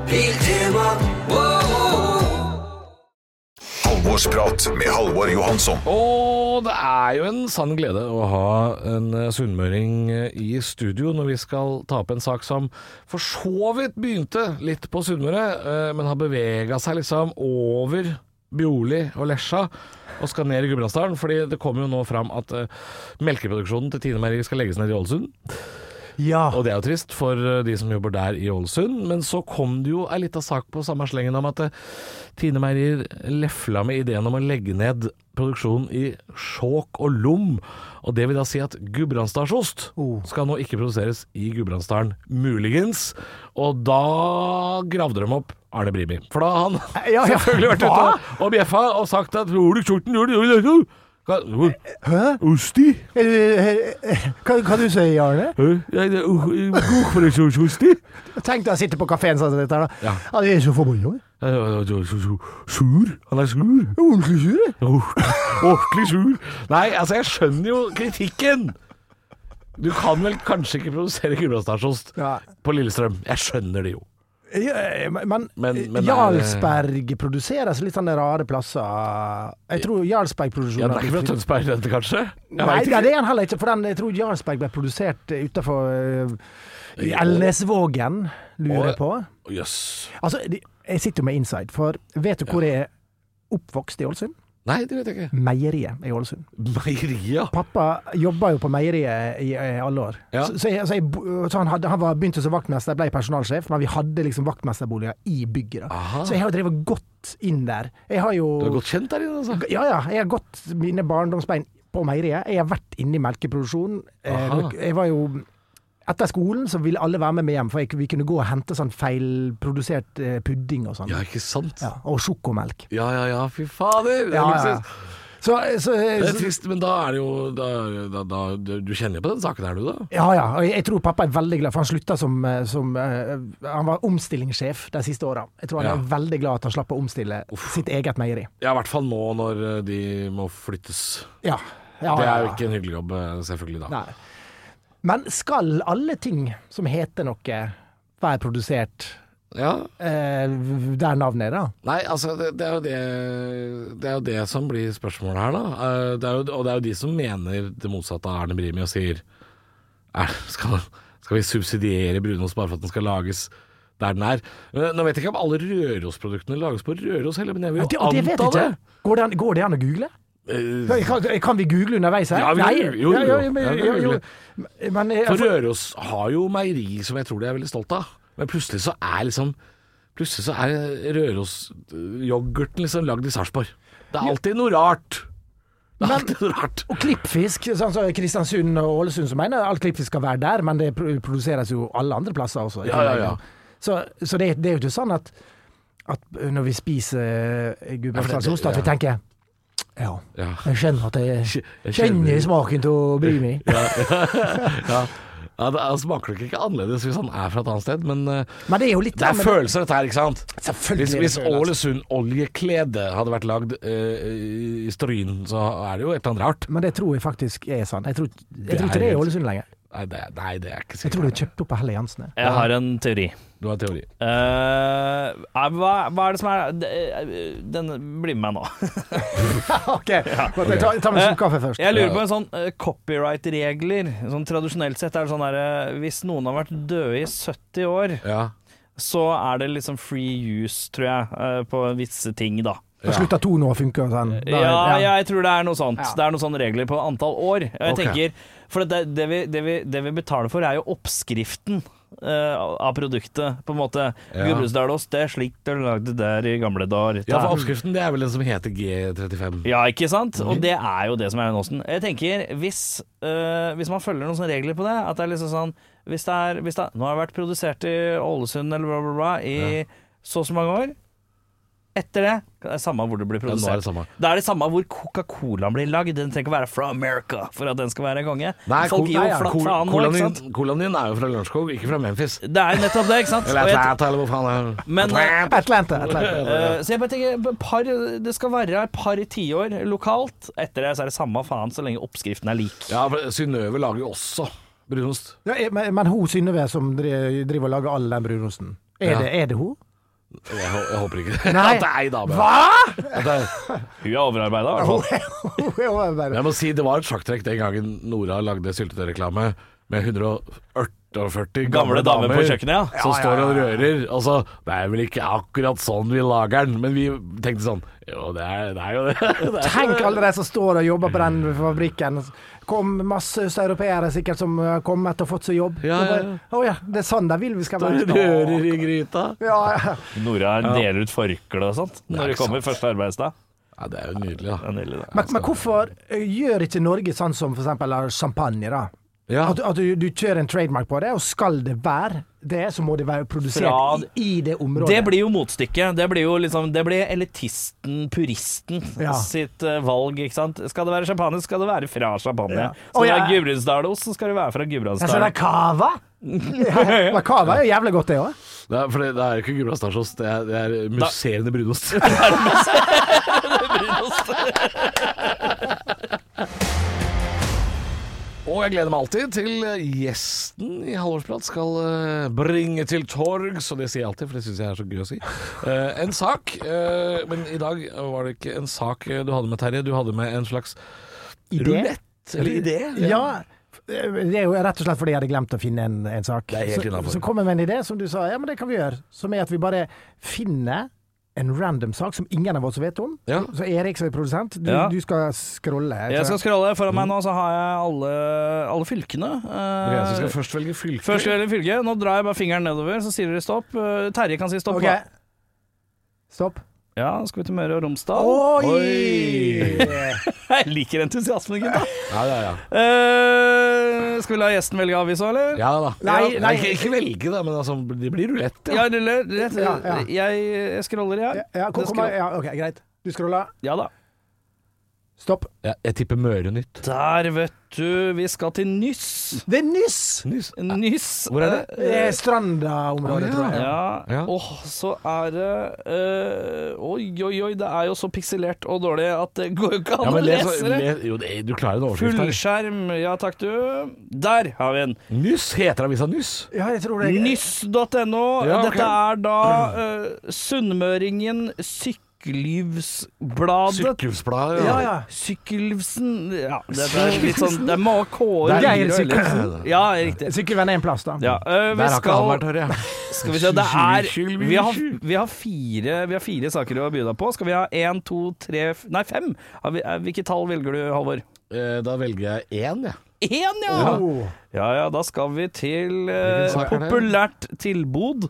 Halvorsprat med Halvor Johansson.
Og det er jo en sann glede å ha en eh, sunnmøring eh, i studio når vi skal ta opp en sak som for så vidt begynte litt på Sunnmøre, eh, men har bevega seg liksom over Bjorli og Lesja og skal ned i Gudbrandsdalen. Fordi det kommer jo nå fram at eh, melkeproduksjonen til Tine Meieri skal legges ned i Ålesund.
Ja.
Og det er jo trist for eh, de som jobber der i Ålesund. Men så kom det jo ei lita sak på samme slengen om at eh, Tine Meier lefla med ideen om å legge ned produksjonen i Skjåk og Lom. Og det vil da si at gudbrandsdalsost skal nå ikke produseres i Gudbrandsdalen, muligens. Og da gravde de opp Arne Brimi. For da har han
Ja, ja.
selvfølgelig vært ute
Hva?
og- og bjeffa og sagt at Ole Kjorten gjorde det, gjorde det, gjorde det.
Hæ?
Osti?
Hva, hva du sier du, Arne?
Hæ? Ja, det er o- God produksjonsosti?
Tenk deg å sitte på kafeen sånn som dette her, da.
Ja.
Ja, det er så forbanna.
Ja, ja, ja, ja, så- så- Sur. Han er sur.
Ordentlig sur, jeg.
Ordentlig [laughs] ordentlig sur. Nei, altså, jeg skjønner jo kritikken. Du kan vel kanskje ikke produsere gulrotstarsjost
Nei.
på Lillestrøm. Jeg skjønner det jo.
Ja, men,
eh, Men- men
Jarlsberg produseres litt sånne rare plasser. Jeg tror Jarlsberg
Ja,
produserer
det er ikke fra Tønsberg dette, kanskje? Jeg
Nei,
vet
nei,
ikke.
det er han heller ikke. For den, jeg tror Jarlsberg ble produsert eh, utafor Elnesvågen, lurer jeg på.
Jøss.
Altså, de- jeg sitter jo med inside, for vet du hvor jeg er oppvokst i Ålesund?
Nei, det vet jeg ikke.
Meieriet i Ålesund.
Meieriet.
Pappa jobba jo på meieriet i, eh, alle år.
Ja.
Så, så, jeg, så, jeg, bo- så han, hadde, han var, begynte som vaktmester, ble personalsjef, men vi hadde liksom vaktmesterboliger i bygget. Da.
Aha.
Så jeg har jo drevet godt inn der. Jeg har jo
Du er godt kjent der inne, altså.
Ja, ja. Jeg har gått mine barndomsbein på meieriet. Jeg har vært inne i melkeproduksjonen. Eh,
Aha.
Jeg var jo etter skolen så ville alle være med meg hjem, for jeg, vi kunne gå og hente sånn feilprodusert eh, pudding og sånn.
Ja, ikke sant?
Ja, og sjokomelk.
Ja, ja, ja, fy fader. Det er
Ja, ja.
luksus.
Så, så,
Det er
så
trist, men da er det jo da, da, da, Du kjenner jo på den saken her, du, da?
Ja, ja. Og jeg, jeg tror pappa er veldig glad, for han slutta som, eh, som eh, Han var omstillingssjef de siste åra. Jeg tror han
Ja.
er veldig glad at han slapp å omstille sitt eget meieri.
Ja, i hvert fall nå når eh, de må flyttes.
Ja. ja,
Det
ja,
er jo
ja.
ikke en hyggelig jobb, eh, selvfølgelig, da.
Nei. Men skal alle ting som heter noe, være produsert
Ja,
eh, der navnet er, da?
Nei, altså det, det, er jo det, det er jo det som blir spørsmålet her, da. Eh, Det er jo, og det er jo de som mener det motsatte av Arne Brimi og sier er, skal, skal vi subsidiere brunost bare for at den skal lages der den er? Eh, Nå vet jeg ikke om alle Røros-produktene lages på Røros heller, men jeg vil
Ja,
jo
det, og det vet jeg
anta det.
ikke. Går det, an, går det an å google?
Eh,
Kan, kan vi google underveis her?
Ja, vi-
Nei.
jo, jo,
Ja, ja,
jo.
men-
Ja, vi
jo,
googler.
jo. Men, eh,
For
for-
Røros har jo meieri som jeg tror de er veldig stolt av, men plutselig så er liksom Plutselig så er Røros-yoghurten liksom lagd i Sarpsborg. Det er alltid noe rart. Det er alltid noe rart.
Og klippfisk, sånn som Kristiansund og Ålesund som mener all klippfisk skal være der, men det pro- produseres jo alle andre plasser også. i
Ja, ja,
tillegg.
ja.
Så, så det, det er jo ikke sånn at, at når vi spiser eh, gudbrandsdalsost,
Ja,
at
for
vi tenker ja,
Ja.
jeg kjenner at jeg,
jeg
kjenner
kjenner-
smaken av [laughs] brimi.
Ja. Ja, det er- smaker nok ikke annerledes hvis han er fra et annet sted, men eh,
Men det er jo litt
det er
men-
følelser dette her, ikke sant?
Selvfølgelig.
Hvis,
er det
hvis
følelser.
Ålesund oljeklede hadde vært lagd eh, i Stryn, så er det jo et eller annet rart.
Men det tror jeg faktisk er sant. Jeg tror, jeg
Det
tror
er
ikke det er
helt-
Ålesund lenger.
Nei, det, nei, det er ikke
Jeg tror det
sikkert.
er kjøpt opp av Helle Jansen. jeg.
Jeg har en teori.
Du har en teori.
Eh, er- hva, hva er det som er det- Den blir med meg nå.
[laughs] ok, jeg tar, tar med en slurk kaffe først.
Jeg lurer på en sånn eh, copyright-regler. Sånn Tradisjonelt sett er det sånn der eh, Hvis noen har vært døde i 70 år,
Ja.
så er det liksom free use, tror jeg, eh, på visse ting, da.
Da slutter to nå å funke. og Sånn. Da-
Ja, jeg tror det er noe sånt.
Ja.
Det er noen sånne regler på antall år. Og jeg
Ok.
tenker, For det, det, vi, det, vi, det vi betaler for, er jo oppskriften. eh, av produktet, på en måte.
Ja.
Gudbrandsdalost, det er slik dere lagde det der i gamle dager. Mm.
Ja, for oppskriften det er vel den som heter G35.
Ja, ikke sant?
Mhm.
Og det er jo det som er Nåsen. Jeg tenker, hvis, øh, hvis man følger noen sånne regler på det, at det er liksom sånn Hvis det er hvis det, er- Nå har det vært produsert i Ålesund eller bla, bla, bla i så og så mange år. Etter det det er samme hvor det blir
nå
produsert.
er det samme.
Da er det samme hvor Coca-Colaen blir lagd. Den trenger ikke å være fra America for at den skal være konge. Folk gir jo flatt faen nå, ikke sant?
Colaen din er jo fra Lørenskog, ikke fra Memphis.
Det er nettopp det, ikke sant?
[laughs] Eller
Og jeg-
Atlanta, eller hvor faen det er.
Men, eh,
Atlanta. [laughs] Atlanta.
Eh, så jeg bare tenker, b- par, det skal være et par tiår lokalt. Etter det så er det samme faen så lenge oppskriften er lik.
Ja, for Synnøve lager jo også brunost.
Ja, eh, men, men hun Synnøve som dri- driver og lager all den brunosten, er,
Ja.
det, er det hun? [laughs]
Jeg, hå- jeg håper ikke [laughs]
Nei.
at det er ei dame.
Hva?!
At det er-
Hun er overarbeida, i hvert
Hun
fall.
er- hun er jo bare-
Jeg må si det var et sjakktrekk den gangen Nora lagde syltetøyreklame med 148 gamle,
Gamle damer på kjøkkenet, ja.
Som
Ja, ja,
står
ja,
og rører. Altså, det er vel ikke akkurat sånn vi lager den, men vi tenkte sånn Jo, det er, det er jo det. [laughs] det er.
Tenk alle de som står og jobber på den fabrikken. Kom masse østeuropeere sikkert som eh, kom etter å ha fått seg jobb.
Ja,
Og bare,
ja, ja.
Å ja, det er sånn de vil vi skal
[laughs]
være.
Rører i gryta.
Ja, ja.
Nora deler ut forkle og sånt
er
når det
ikke
kommer første arbeidsdag.
Ja, det er jo nydelig, da.
Det er nydelig, det.
Men, men hvorfor eh, gjør ikke Norge sånn som f.eks. champagne, da?
Ja.
At, at du, du kjører en trademark på det, og skal det være det, så må det være produsert
Fra-
i, i det området.
Det blir jo motstykket. Det blir jo liksom Det blir elitisten, puristen,
Ja.
sitt eh, valg, ikke sant. Skal det være champagne, skal det være fra champagne.
Ja.
Skal
Å,
det
ja.
være Gudbrandsdalost, så skal det være fra
Jeg ser det er
Gudbrandsdalen.
[laughs]
cava. Men cava er jo jævlig godt, det òg.
Det er, for det, det er ikke Gudbrandsdalsost, det, er- det er musserende brunost. Og jeg gleder meg alltid til gjesten i Halvorsprat skal eh, bringe til torgs, og det sier jeg alltid, for det syns jeg er så gøy å si, eh, en sak. eh, Men i dag var det ikke en sak eh, du hadde med, Terje. Du hadde med en slags rulett eller idé.
Ja. Det er jo rett og slett fordi jeg hadde glemt å finne en, en sak.
Det er helt
så,
innenfor.
så kom jeg med en idé som du sa ja, men det kan vi gjøre. Som er at vi bare finner en random sak som ingen av oss vet om.
Ja.
Så Erik som er produsent, du,
Ja.
du skal scrolle.
Jeg skal scrolle foran meg nå, så har jeg alle, alle fylkene. eh,
Ok, så vi skal først velge fylke.
Først gjelder fylke. Nå drar jeg bare fingeren nedover, så sier dere stopp. Eh, Terje kan si stopp.
Ok.
da.
Stopp.
Ja, skal vi til Møre og Romsdal?
Oi!
[laughs] Jeg liker entusiasmen, gutta.
Ja, ja, ja.
Eh, skal vi la gjesten velge avis òg, eller?
ja da.
Nei,
Ja,
nei.
Ikke, ikke velge, da, men altså, det blir rulett, ja.
Ja, eller rett.
Ja, ja.
Jeg, jeg scroller, jeg.
Ja, kom,
Det
kom,
scroll-
ja, ok, greit. Du scroller.
ja da.
Stopp.
Ja, jeg tipper Mørenytt.
Der, vet du. Vi skal til Nyss.
Det er nyss!
Nys.
Nyss.
Eh, Hvor er det?
Det er
Å,
Stranda-området,
ja.
tror jeg.
eh, Ja. Åh,
Ja.
så er det eh, Oi, oi, oi. Det er jo så pikselert og dårlig at det går jo ikke an
Ja,
å
men les,
lese det.
les, jo, det- du klarer en overskrift her.
Fullskjerm. Ja takk, du. Der har vi den.
Nyss heter avisa Nyss.
Ja, jeg tror det er
Nyss.no.
Ja, ok.
Dette er da eh, Sunnmøringen Sykkylivsbladet.
Sykkylvsbladet.
Ja, ja.
Sykkylvsen Ja, det er litt sånn Det er mange K-er.
Det er Geir
Eller-
Sykkylvsen.
Ja, riktig.
Sykkelvenn er en plass, da.
Ja, eh, vi
Der har ikke han vært,
skal,
hører jeg.
skal vi se Det er vi har, vi, har fire, vi har fire saker å by deg på. Skal vi ha én, to, tre f- Nei, fem? Har vi, eh, hvilke tall velger du, Halvor?
Eh, Da velger jeg én, jeg.
Én, ja!
Oh.
Ja ja, da skal vi til eh,
Hvilken sak er det?
populært tilbod.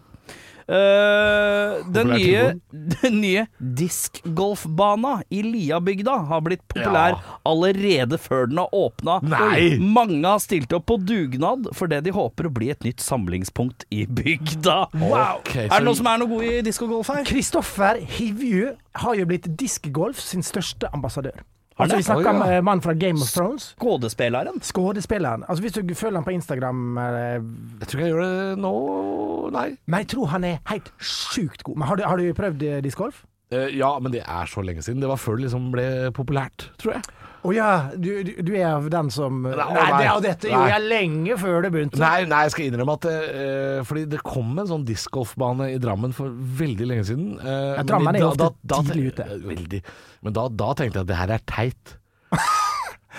Eh, den,
Populært
nye, [laughs] den nye diskgolfbana i Liabygda har blitt populær allerede før den har åpna.
Nei!
Mange har stilt opp på dugnad for det de håper å bli et nytt samlingspunkt i bygda.
Ok,
er det
så-
noen som er noe god i diskogolf her?
Kristoffer Hivju har jo blitt Diskgolf sin største ambassadør.
Har
Altså,
det?
vi snakker
Oi,
om
ja.
eh, mannen fra Game of Thrones.
Skådespilleren.
Skuespilleren. Altså, hvis du følger han på Instagram eh,
Jeg tror ikke jeg gjør det nå, nei.
Men jeg tror han er helt sjukt god. Men har du, har du prøvd eh, diskgolf?
Eh, Ja, men det er så lenge siden. Det var før det liksom ble populært, tror jeg.
Å ja, du, du, du er av den som eh, Nei, det, ja, dette
Nei.
gjorde jeg lenge før det begynte.
Nei, nei, jeg skal innrømme at eh, Fordi det kom en sånn discgolfbane i Drammen for veldig lenge siden. eh,
Ja,
men
Drammen er jo
da- da-
ofte
da-
tidlig ute.
eh, Veldig. Men da, da tenkte jeg at det her er teit.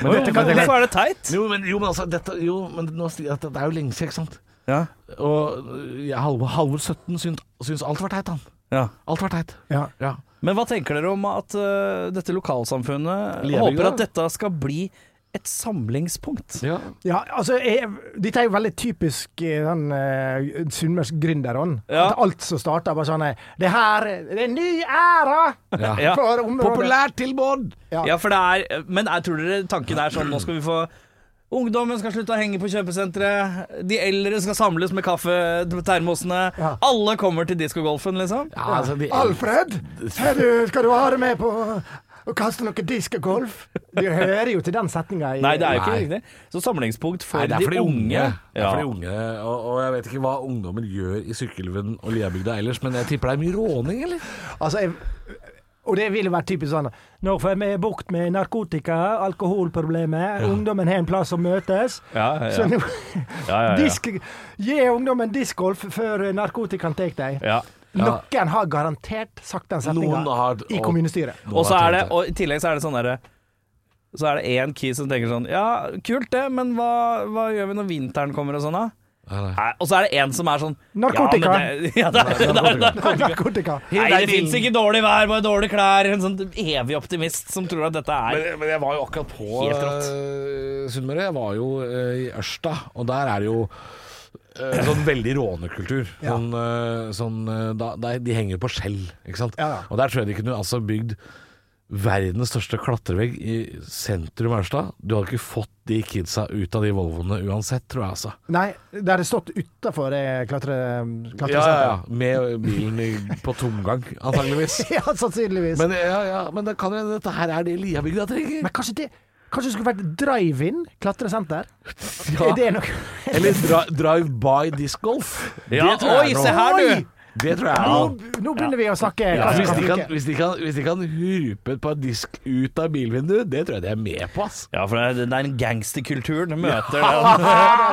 Men
Oi,
dette kan-
Hvorfor er det teit?
Jo, men, jo, men altså dette, jo, men nå, sier jeg at Det er jo lenge siden, ikke sant?
Ja.
Og jeg, Halvor, Halvor 17 syns, syns alt var teit, han.
ja.
Alt var teit.
Ja.
Ja.
Men hva tenker dere om at eh, dette lokalsamfunnet
Liabygda?
håper at dette skal bli et samlingspunkt.
Ja.
Ja, altså, jeg, dette er jo veldig typisk eh, den uh, sunnmørske gründerånd.
Ja.
At alt som starter, bare sånn eh, Det her det er en ny æra
Ja.
for området.
Populært tilbud!
Ja.
Ja, for det er Men jeg tror dere tanken er sånn Nå skal vi få Ungdommen skal slutte å henge på kjøpesenteret. De eldre skal samles med kaffe på termosene.
Ja.
Alle kommer til diskogolfen, liksom.
Ja, altså, de,
Alfred, her du, skal du ha det med på å kaste noe disk og golf? Du hører jo til den setninga i
Nei, det er jo ikke
Nei.
riktig. Så samlingspunkt for,
Nei, det er for de unge. Det er
Ja.
for de unge og, og jeg vet ikke hva ungdommer gjør i Sykkylven og Liabygda ellers, men jeg tipper det er mye råning, eller?
Altså, jeg, og det ville vært typisk sånn Nå får vi bukt med narkotika, alkoholproblemet, ungdommen har en plass å møtes.
Ja, ja, ja.
Så nå
Ja, ja, ja.
disk, Gi ungdommen diskgolf før narkotikaen tar deg.
Ja.
Noen har garantert sagt den
Noen
setninga
har-
i
[laughs]
kommunestyret.
Og så er det Og i tillegg så er det sånn derre Så er det én kid som tenker sånn Ja, kult det, men hva, hva gjør vi når vinteren kommer og sånn, da? Nei, Og så er det en som er sånn
Narkotika.
Ja, men det, [laughs] ja, det, er- det, er- det, er-
Narkotika.
Nei, det fins ikke dårlig vær, bare dårlige klær. En sånn evig optimist som tror at dette er
Men, men jeg var jo akkurat på
Helt rått.
eh, Sunnmøre. Jeg var jo eh, i Ørsta, og der er det jo eh, sånn veldig rånekultur. Sånn, eh, sånn eh, da, der, De henger på skjell, ikke sant.
Ja, ja.
Og der tror jeg de kunne altså bygd verdens største klatrevegg i sentrum av Ørsta. Du hadde ikke fått de kidsa ut av de Volvoene uansett, tror jeg altså.
Nei, det hadde stått utafor klatresenteret.
Ja, ja, ja. Med bilen i, på tomgang, antageligvis.
[laughs] ja, sannsynligvis.
Men, ja, ja, men det kan jo hende dette her er det Liabygda trenger.
Men kanskje det Kanskje det skulle vært drive-in klatresenter?
Ja.
Er det noe
[laughs] Eller dra, drive by disc golf.
Ja,
det tror
oi,
jeg er
se
noe.
her, du!
Det tror jeg er
Nå,
noe.
nå begynner vi å snakke
Ja, hvis, de kan,
klassekamp.
hvis, de kan, hvis de kan hurpe et par disk ut av bilvinduet, det tror jeg de er med på, ass.
Ja, for det er den gangsterkulturen du møter
Ja,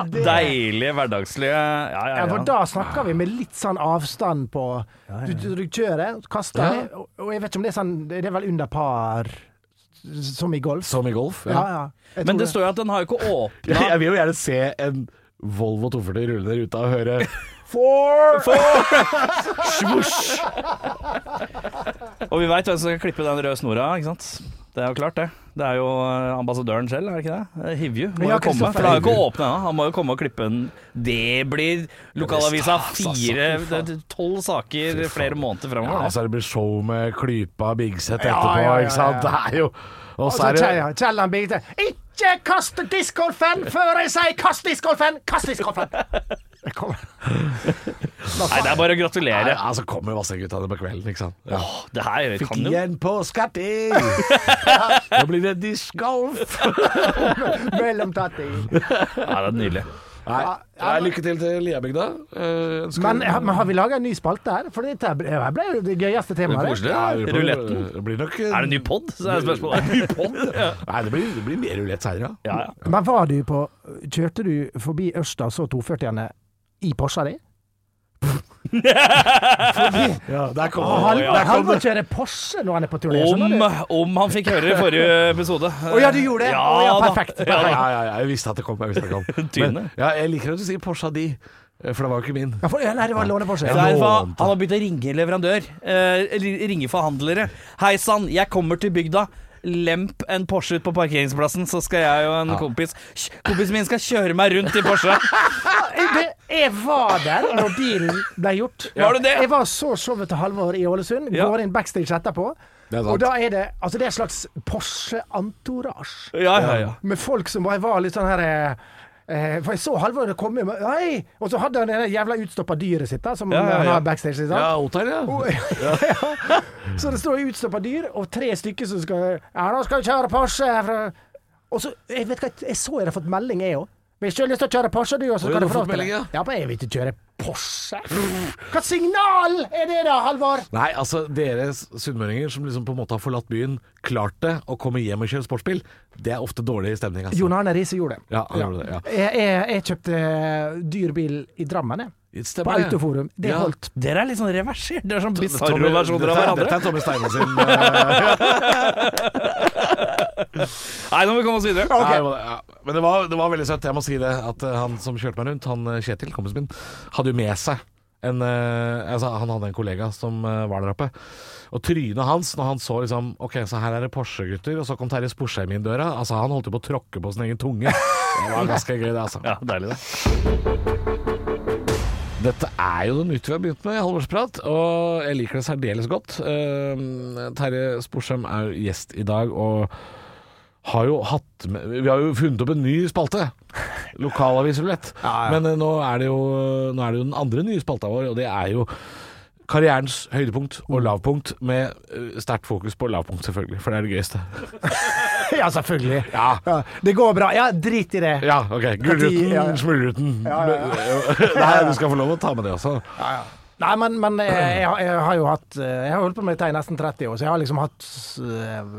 den
[laughs]
det-
deilige, hverdagslige Ja, ja,
Ja, for
ja.
da snakker vi med litt sånn avstand på Du, du, du kjører, kaster,
Ja.
ned, og, og jeg vet ikke om det er sånn Det er vel under par, s- som i golf?
Som i golf.
Ja,
Ja.
ja. Jeg
Men
tror
det står jo at den har jo ikke åpna
[laughs] Jeg vil jo gjerne se en Volvo 240 rulle ned ruta og høre Four!
Og vi veit hvem som skal klippe den røde snora, ikke sant? Det er jo klart, det. Det er jo eh, ambassadøren selv, er det ikke det? Eh, Hivju må jo
ja,
komme.
Kristoffer
For det har jo ikke
Hivju.
åpna ennå. Han må jo komme og klippe den. Det blir lokalavisa
stas, altså.
fire det er Tolv saker flere måneder
Ja,
framover.
altså det blir show med Klypa Bigset
Ja,
etterpå,
ja, ja, ja.
ikke sant? Det er jo Og så er det
Kielland Birgitte Ikke kast diskgolfen før jeg sier kast diskgolfen! Kast diskgolfen!
[laughs]
Jeg kommer.
Nei, det er bare å
Nei,
gratulere.
altså kommer Vassendgutane på kvelden, ikke sant? Ja.
Åh, Det her kan jo
Igjen på skatting! Nå blir det discgolf!
Mellom tatting.
Ja, det er nydelig.
Nei, nei, lykke til til Liabygda. Eh, ønsker-
Men, men har vi laga en ny spalte her? For dette her ble- her ble jo det gøyeste temaet. det.
Ja, det blir-
Ruletten.
Det blir nok
Er det en ny pod? Så er
[laughs]
spørsmålet.
Ny podd? Nei, det blir, det blir mer rulett seinere.
Ja, ja.
Men var du på Kjørte du forbi Ørsta og så 240-ene i
[laughs]
Porscha di?
Ja, der kom
Og
det.
Ah, Hal-
ja.
Halvor kjører Porsche når han er på turné.
Om,
skjønner du?
om han fikk høre i forrige episode. Å
ja, du gjorde det?
Ja,
Å ja,
da.
perfekt.
Ja,
Ja,
da.
ja, ja, jeg visste at det kom. Jeg, visste
[laughs]
at det kom.
Tynne.
ja, jeg liker at du sier Porscha di, eh, for det var jo ikke min.
Ja, for, ja, nei, det var låneporsche.
Det er
lånte.
for han har begynt å ringe leverandør. eh, eller ringe forhandlere. Hei sann, jeg kommer til bygda. Lemp en Porsche ut på parkeringsplassen, så skal jeg og en kompis Kj- Kompisen min skal kjøre meg rundt i [laughs] Porsche.
Jeg, det- jeg var der når dealen ble gjort.
Var du det?
Jeg var så showet til Halvor i Ålesund.
Ja.
Går inn backstage etterpå.
Det er sant.
Og da er det altså det er et slags Porsche-entourage.
Ja, ja, ja.
Med folk som bare var litt sånn her eh, eh, For jeg så Halvor komme med Hei! Og så hadde han det der jævla utstoppa dyret sitt, da, som
Ja, ja,
han
ja. Oh,
har backstage. Liksom.
Ja, Otar, ja.
Så det står utstoppa dyr og tre stykker som skal Ja, nå skal vi kjøre Porsche herfra. Og så, jeg vet hva, jeg så jeg hadde fått melding, jeg òg. Hvis du har lyst til å kjøre Porsche, du, og så
Oi,
kan
du
du
har
få
fått
lov til det.
melding, ja.
Ja, men jeg vil ikke kjøre Porsche. Hva signal er det da, Halvor?
Nei, altså dere sunnmøringer som liksom på en måte har forlatt byen, klart det, og kommer hjem og kjører sportsbil, det er ofte dårlig stemning. Altså.
Jon Arne Riise gjorde det.
Ja, han gjorde det, ja.
Jeg, jeg, jeg kjøpte dyr bil i Drammen, jeg.
Stemmer
På
det.
Autoforum. Det
Ja.
holdt.
Dere er litt sånn reversert. Dere er sånn
Tommy-
bisarro versjoner av hverandre.
dette er- Dette er Tommy Steine sin eh,
Nei, nå må vi komme oss videre. [laughs]
nei, men- ja. Men det var, det var veldig søtt, jeg må si det. At eh, han som kjørte meg rundt, han eh, Kjetil, kompisen min, hadde jo med seg en, eh, altså, han hadde en kollega som eh, var der oppe. Og trynet hans når han så liksom Ok, så her er det Porsche, gutter. Og så kom Terje Sporsheim inn døra. Altså, han holdt jo på å tråkke på sin egen tunge. Det var ganske gøy, det, altså.
Ja, deilig det.
Dette er jo noe nytt vi har begynt med i Halvorsprat, og jeg liker det særdeles godt. Eh, Terje Sporsheim er jo gjest i dag, og har jo hatt med, Vi har jo funnet opp en ny spalte. Lokalavisrulett.
Ja, ja.
Men eh, nå er, det jo, nå er det jo den andre nye spalta vår, og det er jo karrierens høydepunkt og lavpunkt, med eh, sterkt fokus på lavpunkt, selvfølgelig, for det er det gøyeste.
[laughs] Ja, selvfølgelig.
Ja.
Ja, det går bra. Ja, drit i det.
Ja, ok. Gullruten,
Ja, ja.
Smuldruten. [laughs] Nei, du skal få lov å ta med det også.
Nei, men, men eh, jeg, har- jeg har jo hatt eh, Jeg har holdt på med dette i nesten 30 år, så jeg har liksom hatt eh,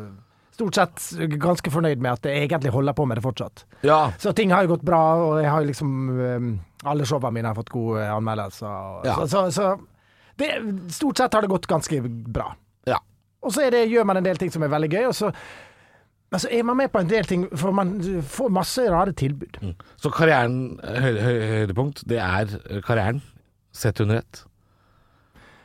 Stort sett ganske fornøyd med at jeg egentlig holder på med det fortsatt.
Ja.
Så ting har jo gått bra, og jeg har jo liksom um, Alle showene mine har fått gode eh, anmeldelser. Og,
Ja.
Så, så, så det, stort sett har det gått ganske bra.
Ja.
Og så er det, gjør man en del ting som er veldig gøy, og så men så er man med på en del ting, for man får masse rare tilbud.
Så karrieren, eh, høy, høy, høydepunkt, det er eh, karrieren sett under ett.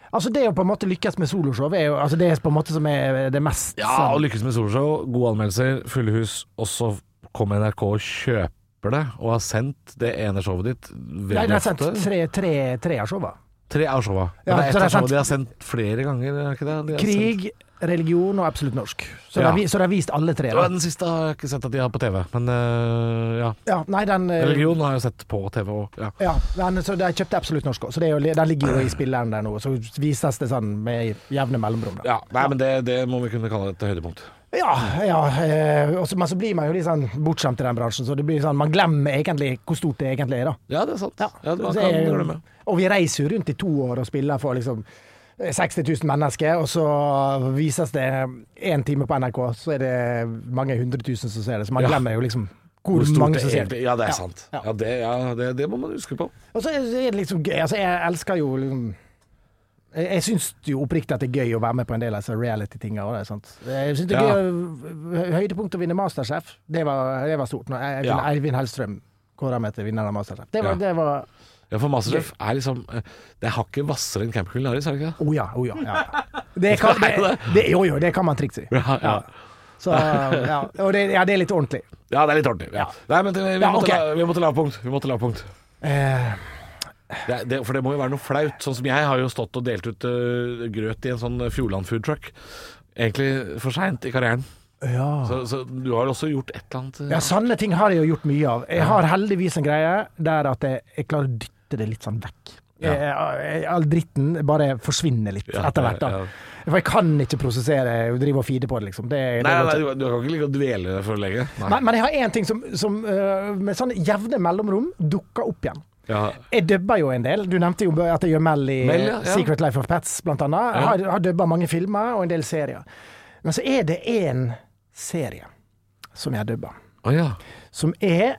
Altså Det å på en måte lykkes med soloshow, er jo altså det er på en måte som er det mest
Ja, og lykkes med soloshow, gode anmeldelser, fulle hus, og så kommer NRK og kjøper det, og har sendt det ene showet ditt
Nei,
veldig
de har sendt
ofte.
tre, tre, tre av showa.
Tre av showa.
Ja,
Men det er ett
så det er
av showa
sendt-
de har sendt flere ganger, er det ikke det? De har sendt-
Krig, religion og absolutt norsk. Så
Ja.
de har vi- så de har vist alle tre.
Ja,
Da.
Den siste har jeg ikke sett at de har på TV, men øh, ja.
Ja, nei, den, eh,
Religion har jeg sett på TV òg. Ja.
Ja, men så de kjøpte absolutt norsk også, så det er jo, den ligger jo i spilleren der nå. Så vises det sånn med jevne mellomrom. Da.
ja. Nei, men det, det må vi kunne kalle et høydepunkt.
Ja, ja eh, og så- men så blir man jo litt sånn bortskjemt i den bransjen, så det blir sånn, man glemmer egentlig hvor stort det egentlig er, da.
Ja, det er sant. Ja, man
Så det er
kan
jo-
glemme.
og vi reiser jo rundt i to år og spiller for liksom 60 000 mennesker, og så vises det én time på NRK, så er det mange hundre tusen som ser det. Så man
Ja.
glemmer jo liksom hvor,
stort
mange
det
som ser
egentlig-
det.
Ja, det er sant.
ja.
Ja, det, ja, det, det må man huske på.
Og så er det liksom gøy. Altså, jeg elsker jo liksom jeg, jeg syns jo oppriktig at det er gøy å være med på en del av disse reality-tinga. og det, sant? Jeg syns det er
Ja.
gøy å- Høydepunkt å vinne Masterchef, det var, det var stort. Når jeg-
Ja.
Eivind Hellstrøm kåra meg til vinner av Masterchef. Det var,
Ja.
det var
Ja, for Masterchef er liksom eh, Det er hakket hvassere enn Camp Culinaris, er det ikke [laughs] det?
Å ja, å ja. ja. [laughs] Det kan, det, det, jo, jo, det kan man trikse i.
Ja, ja.
Så, ja. Og det, ja, det er litt ordentlig.
ja det er litt ordentlig. Ja. Nei, men det- vi,
Ja,
måtte
ok.
la, vi måtte lavpunkt. Vi måtte lavpunkt.
Eh,
Det, er- det, for det må jo være noe flaut. Sånn som jeg har jo stått og delt ut eh, grøt i en sånn Fjordland food truck. Egentlig for seint i karrieren.
ja.
Så, så du har også gjort et eller annet eh,
ja, sanne ting har jeg jo gjort mye av. Jeg har heldigvis en greie der at jeg, jeg klarer å dytte det litt sånn vekk.
Ja.
Jeg, jeg, all dritten bare forsvinner litt
Ja,
etter hvert.
ja,
da
ja.
For jeg kan ikke prosessere og drive og feede på det, liksom. Det, det
Nei,
går
nei,
ikke.
du, du kan ikke ligge og dvele for lenge. Nei.
Men, men jeg har én ting som, som øh, med sånne jevne mellomrom dukker opp igjen.
Ja.
Jeg dubber jo en del. Du nevnte jo at jeg gjør Mel i
Mel, ja, ja.
Secret Life of Pets, blant annet. Jeg har, har dubba mange filmer og en del serier. Men så er det én serie som jeg dubber,
Å ja.
som er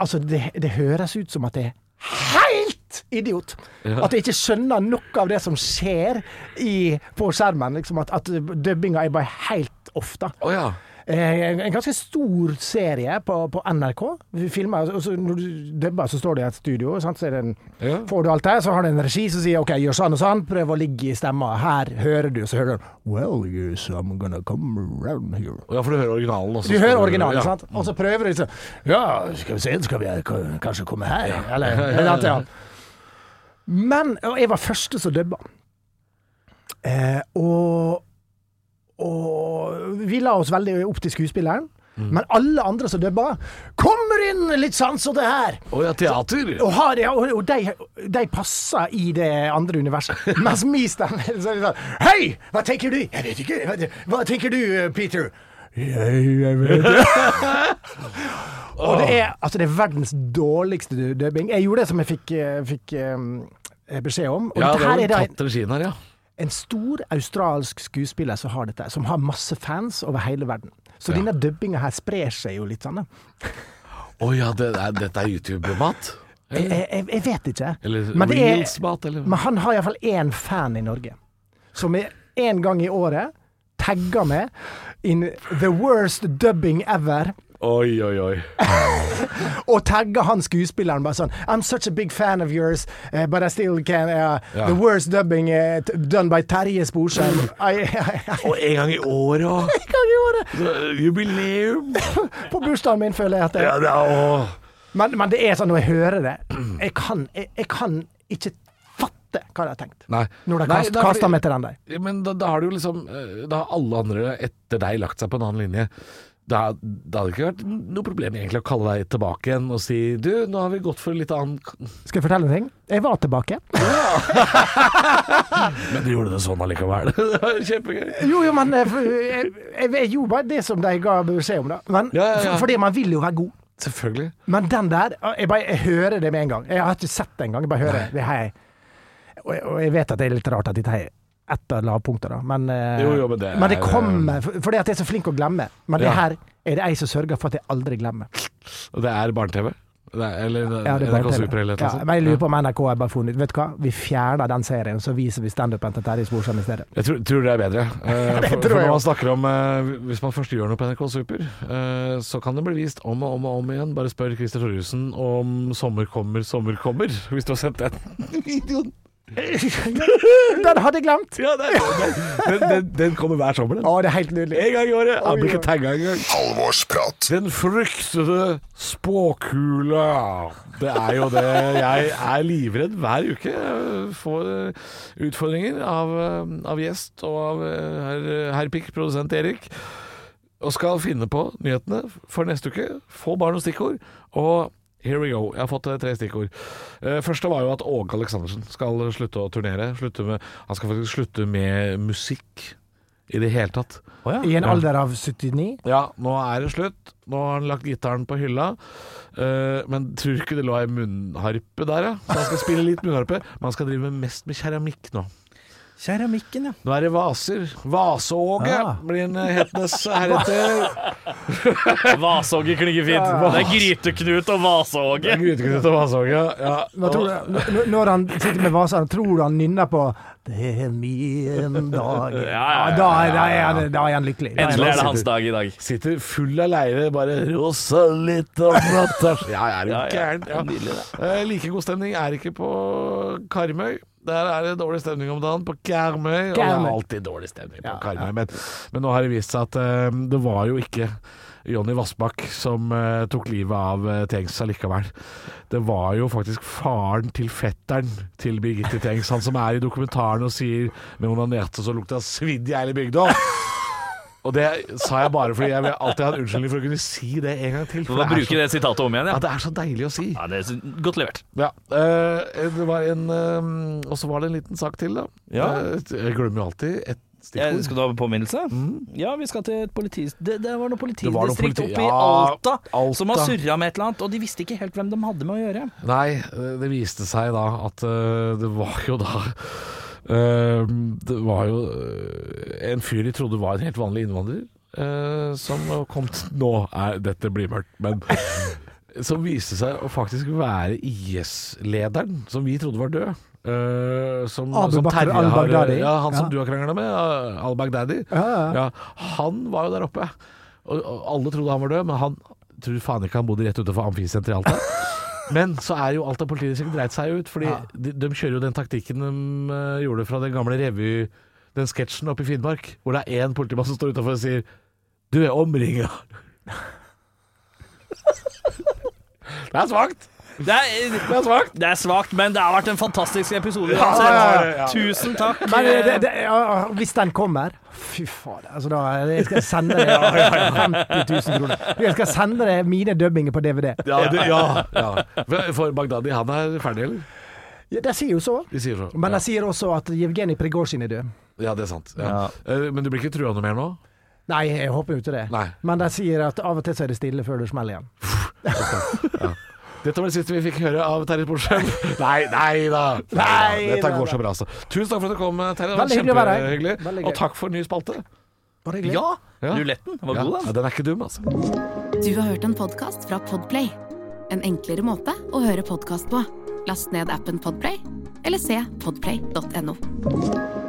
Altså, det, det høres ut som at jeg er helt idiot! At jeg ikke skjønner noe av det som skjer i, på skjermen. Liksom at, at dubbinga er bare helt off, da.
Å ja.
Eh, En ganske stor serie på, på NRK. Vi filmer, og så når du dubber, så står du i et studio. Sant? Så er det en,
Ja.
Får du alt det, så har du en regi som sier OK, gjør sånn og sånn. Prøv å ligge i stemma. Her hører du, så hører du Well, yes, I'm gonna come around here.
Å ja, for du hører originalen også.
Du hører originalen,
Ja.
sant? Og så prøver du sånn Ja, skal vi se, skal vi k- kanskje komme her? Eller eller alt det der. Men og jeg var første som dubba. Eh, og, og vi la oss veldig opp til skuespilleren. Men alle andre som dubba, kommer inn litt sånn som det her!
Å ja, teater!
Og, har, ja, og, og de, de passer i det andre
[laughs]
universet. Mens min stemme er sånn Hei, hva tenker du? Jeg vet ikke. Hva, hva tenker du, Peter? Jeg, jeg vet det.
[laughs]
og det er, altså, det er verdens dårligste du- dubbing. Jeg gjorde det som jeg fikk, eh, fikk eh, beskjed om. Og
Ja,
dette
det var
her
vel
er da en,
tatt regien her, ja.
en stor australsk skuespiller som har dette, som har masse fans over hele verden. Så
Ja.
denne dubbinga her sprer seg jo litt sånn. da.
Å ja, det er, dette er YouTube-mat?
Jeg, jeg, jeg vet ikke.
Eh. Eller
Men det er-
Reels-mat, eller
Men han har iallfall én fan i Norge, som er én gang i året tagger med in the worst dubbing ever
Oi, oi, oi.
Og tagge han skuespilleren bare sånn I'm such a big fan of yours, eh, but I still can eh,
Ja.
The worst dubbing eh, t- done by Terje Sporsheim. I- I-
Og en gang i året
[laughs]
òg.
I kan gjøre det!
Jubileum.
På bursdagen min føler jeg at det
Ja, det er, åh.
men, men det er sånn, når jeg hører det Jeg kan, jeg, jeg kan ikke fatte hva de har tenkt.
Nei.
Når
Nei,
de kast,
det er fordi-
kaster meg til den der.
Men da, da har det jo liksom eh, Da har alle andre etter deg lagt seg på en annen linje. Da, da hadde det ikke vært noe problem egentlig å kalle deg tilbake igjen og si Du, nå har vi gått for litt annen k-
Skal jeg fortelle en ting? Jeg var tilbake.
Men du gjorde det sånn allikevel. [laughs] Det var Kjempegøy.
Jo, jo, men eh, for- jeg, jeg, jeg gjorde bare det som de ga beskjed om, da. Men,
Ja, ja, ja.
for- Fordi man vil jo være god.
Selvfølgelig.
Men den der ah, jeg, bare, jeg hører det med en gang. Jeg har ikke sett det engang. Jeg bare hører det. det. her- Og, og jeg vet at det er litt rart at dette her er ett av lavpunktene, da. Men, eh,
Jo, jo, men det er-
men det kommer for- Fordi at jeg er så flink å glemme. Men
Ja.
det her er det jeg som sørger for at jeg aldri glemmer.
Og det er barne-TV? Det er- Eller
Ja, det er
NRK
bare
Super eller
TV.
et
Ja,
eller
men jeg lurer
annet
på om NRK har bare funnet ut Vet du hva, vi fjerner den serien, så viser vi standupen til Terje Sporsem i stedet.
Jeg tror, tror det er
[laughs]
bedre. Eh,
Det
for,
tror
for
jeg
når man
også.
snakker om eh, Hvis man først gjør noe på NRK Super, eh, så kan det bli vist om og om og om igjen. Bare spør Christer Thoresen om 'Sommer kommer, sommer kommer', [laughs] hvis du har
[laughs]
sett den videoen.
Den hadde jeg glemt!
Ja, det er,
[laughs]
den, den, den kommer hver sommer, den.
Å, det er helt nydelig.
En gang i året. Han blir
Oi, oi.
ikke tagga engang.
Halvorsprat.
Den fryktede spåkula. Det er jo det. Jeg er livredd hver uke eh, for eh, utfordringer av, eh, av gjest og av eh, herr herr Pikk, produsent Erik. Og skal finne på nyhetene for neste uke. Få bare noen stikkord. Og here we go. Jeg har fått eh, tre stikkord. Eh, Første var jo at Åge Aleksandersen skal slutte å turnere. Slutte med, han skal faktisk slutte med musikk i det hele tatt.
I en alder av 79.
Ja, nå er det slutt. Nå har han lagt gitaren på hylla. Eh, men tror du ikke det lå ei munnharpe der, ja? Så han skal spille litt munnharpe. Men han skal drive med mest med keramikk nå.
Keramikken, ja.
Nå er det vaser. Vaseåge
Ja.
blir han hetenes heretter.
Vasåge klinger fint. Det er Gryteknut og Vasåge.
Gryteknutt og vaseåge. Ja.
Nå tror jeg, n- når han sitter med vasene, tror du han nynner på 'Det er min dag'? [laughs] Ja, da, er- da, er han, da er han lykkelig. Da er han-
Endelig er det hans dag i dag.
Sitter full av leire, bare rosa litt og natter. Ja, jeg er jo
Ja, ja.
gæren. Ja. Eh, like god stemning er ikke på Karmøy. Der er det dårlig stemning om dagen, på Karmøy. Og det er
Karmøy.
alltid dårlig stemning på Karmøy. Men, men nå har det vist seg at eh, det var jo ikke Jonny Vassbakk som eh, tok livet av eh, Tengs allikevel. Det var jo faktisk faren til fetteren til Birgitte Tengs, han som er i dokumentaren og sier med onanerte så lukta svidd i hele bygda. Og det sa jeg bare fordi jeg vil alltid ha en unnskyldning for å kunne si det en gang til. For
Hva
det er
bruker
så,
det sitatet om igjen,
ja,
ja?
det er så deilig å si.
Ja, det er Godt levert.
Ja. eh, det var en eh, Og så var det en liten sak til, da.
Ja.
Eh, jeg glemmer jo alltid et
Ja,
stikkord.
skal du ha påminnelse? Ja, vi skal til et politi... Det, det var noe
Det var noe
politidistrikt
politi-
oppe i
Ja,
Alta,
Alta.
som har surra med et eller annet, og de visste ikke helt hvem de hadde med å gjøre.
Nei, eh, det viste seg da at eh, det var jo da eh, Det var jo eh, en fyr de trodde var en helt vanlig innvandrer, eh, som kom til Nå er dette blir mørkt, men [laughs] Som viste seg å faktisk være IS-lederen, som vi trodde var død. eh, som,
Abu
som
Bakr
Terje har eh,
al-Baghdadi.
Ja, han som
Ja.
du har krangla med, eh, al-Baghdadi.
Ja, ja.
Ja, han var jo der oppe, og, og alle trodde han var død, men han tror faen ikke han bodde rett utenfor amfisenteret i Alta. Men så er jo Alta politidistrikt dreit seg ut, fordi de, de kjører jo den taktikken de eh, gjorde fra den gamle revy... Den sketsjen oppe i Finnmark, hvor det er én politimann som står utafor og sier 'Du er omringa'. det er svakt!
Det er, det er svakt. men det har vært en fantastisk episode.
ja, ja,
uansett. Tusen takk.
Men eh, det, det, ja, hvis den kommer Fy fader. Altså, da jeg skal jeg sende deg 50 000 kroner. Jeg skal sende deg mine dubbinger på DVD.
Ja, du, ja, ja. For Bagdadi, han er ferdig, eller?
Ja, de sier jo så.
De sier så.
Men
ja.
de sier også at Jevgenij Prigozjin er død.
ja, det er sant. Ja. Eh, Men du blir ikke trua noe mer nå?
Nei, jeg håper jo ikke det.
Nei.
Men de sier at av og til så er det stille før det smeller igjen.
Dette var det siste vi fikk høre av Terje
[laughs]
Porsem. nei, nei da.
Nei
Dette
da,
går
da.
så bra, altså. Tusen takk for at du kom, Terje. Det var
Veldig hyggelig å være her.
kjempehyggelig.
Veldig gøy.
Og takk for ny spalte.
Bare hyggelig.
Ja,
Ja.
ruletten var
Ja,
god,
ja,
den.
den er ikke dum, altså.
Du har hørt en podkast fra Podplay. En enklere måte å høre podkast på. Last ned appen Podplay, eller se podplay.no.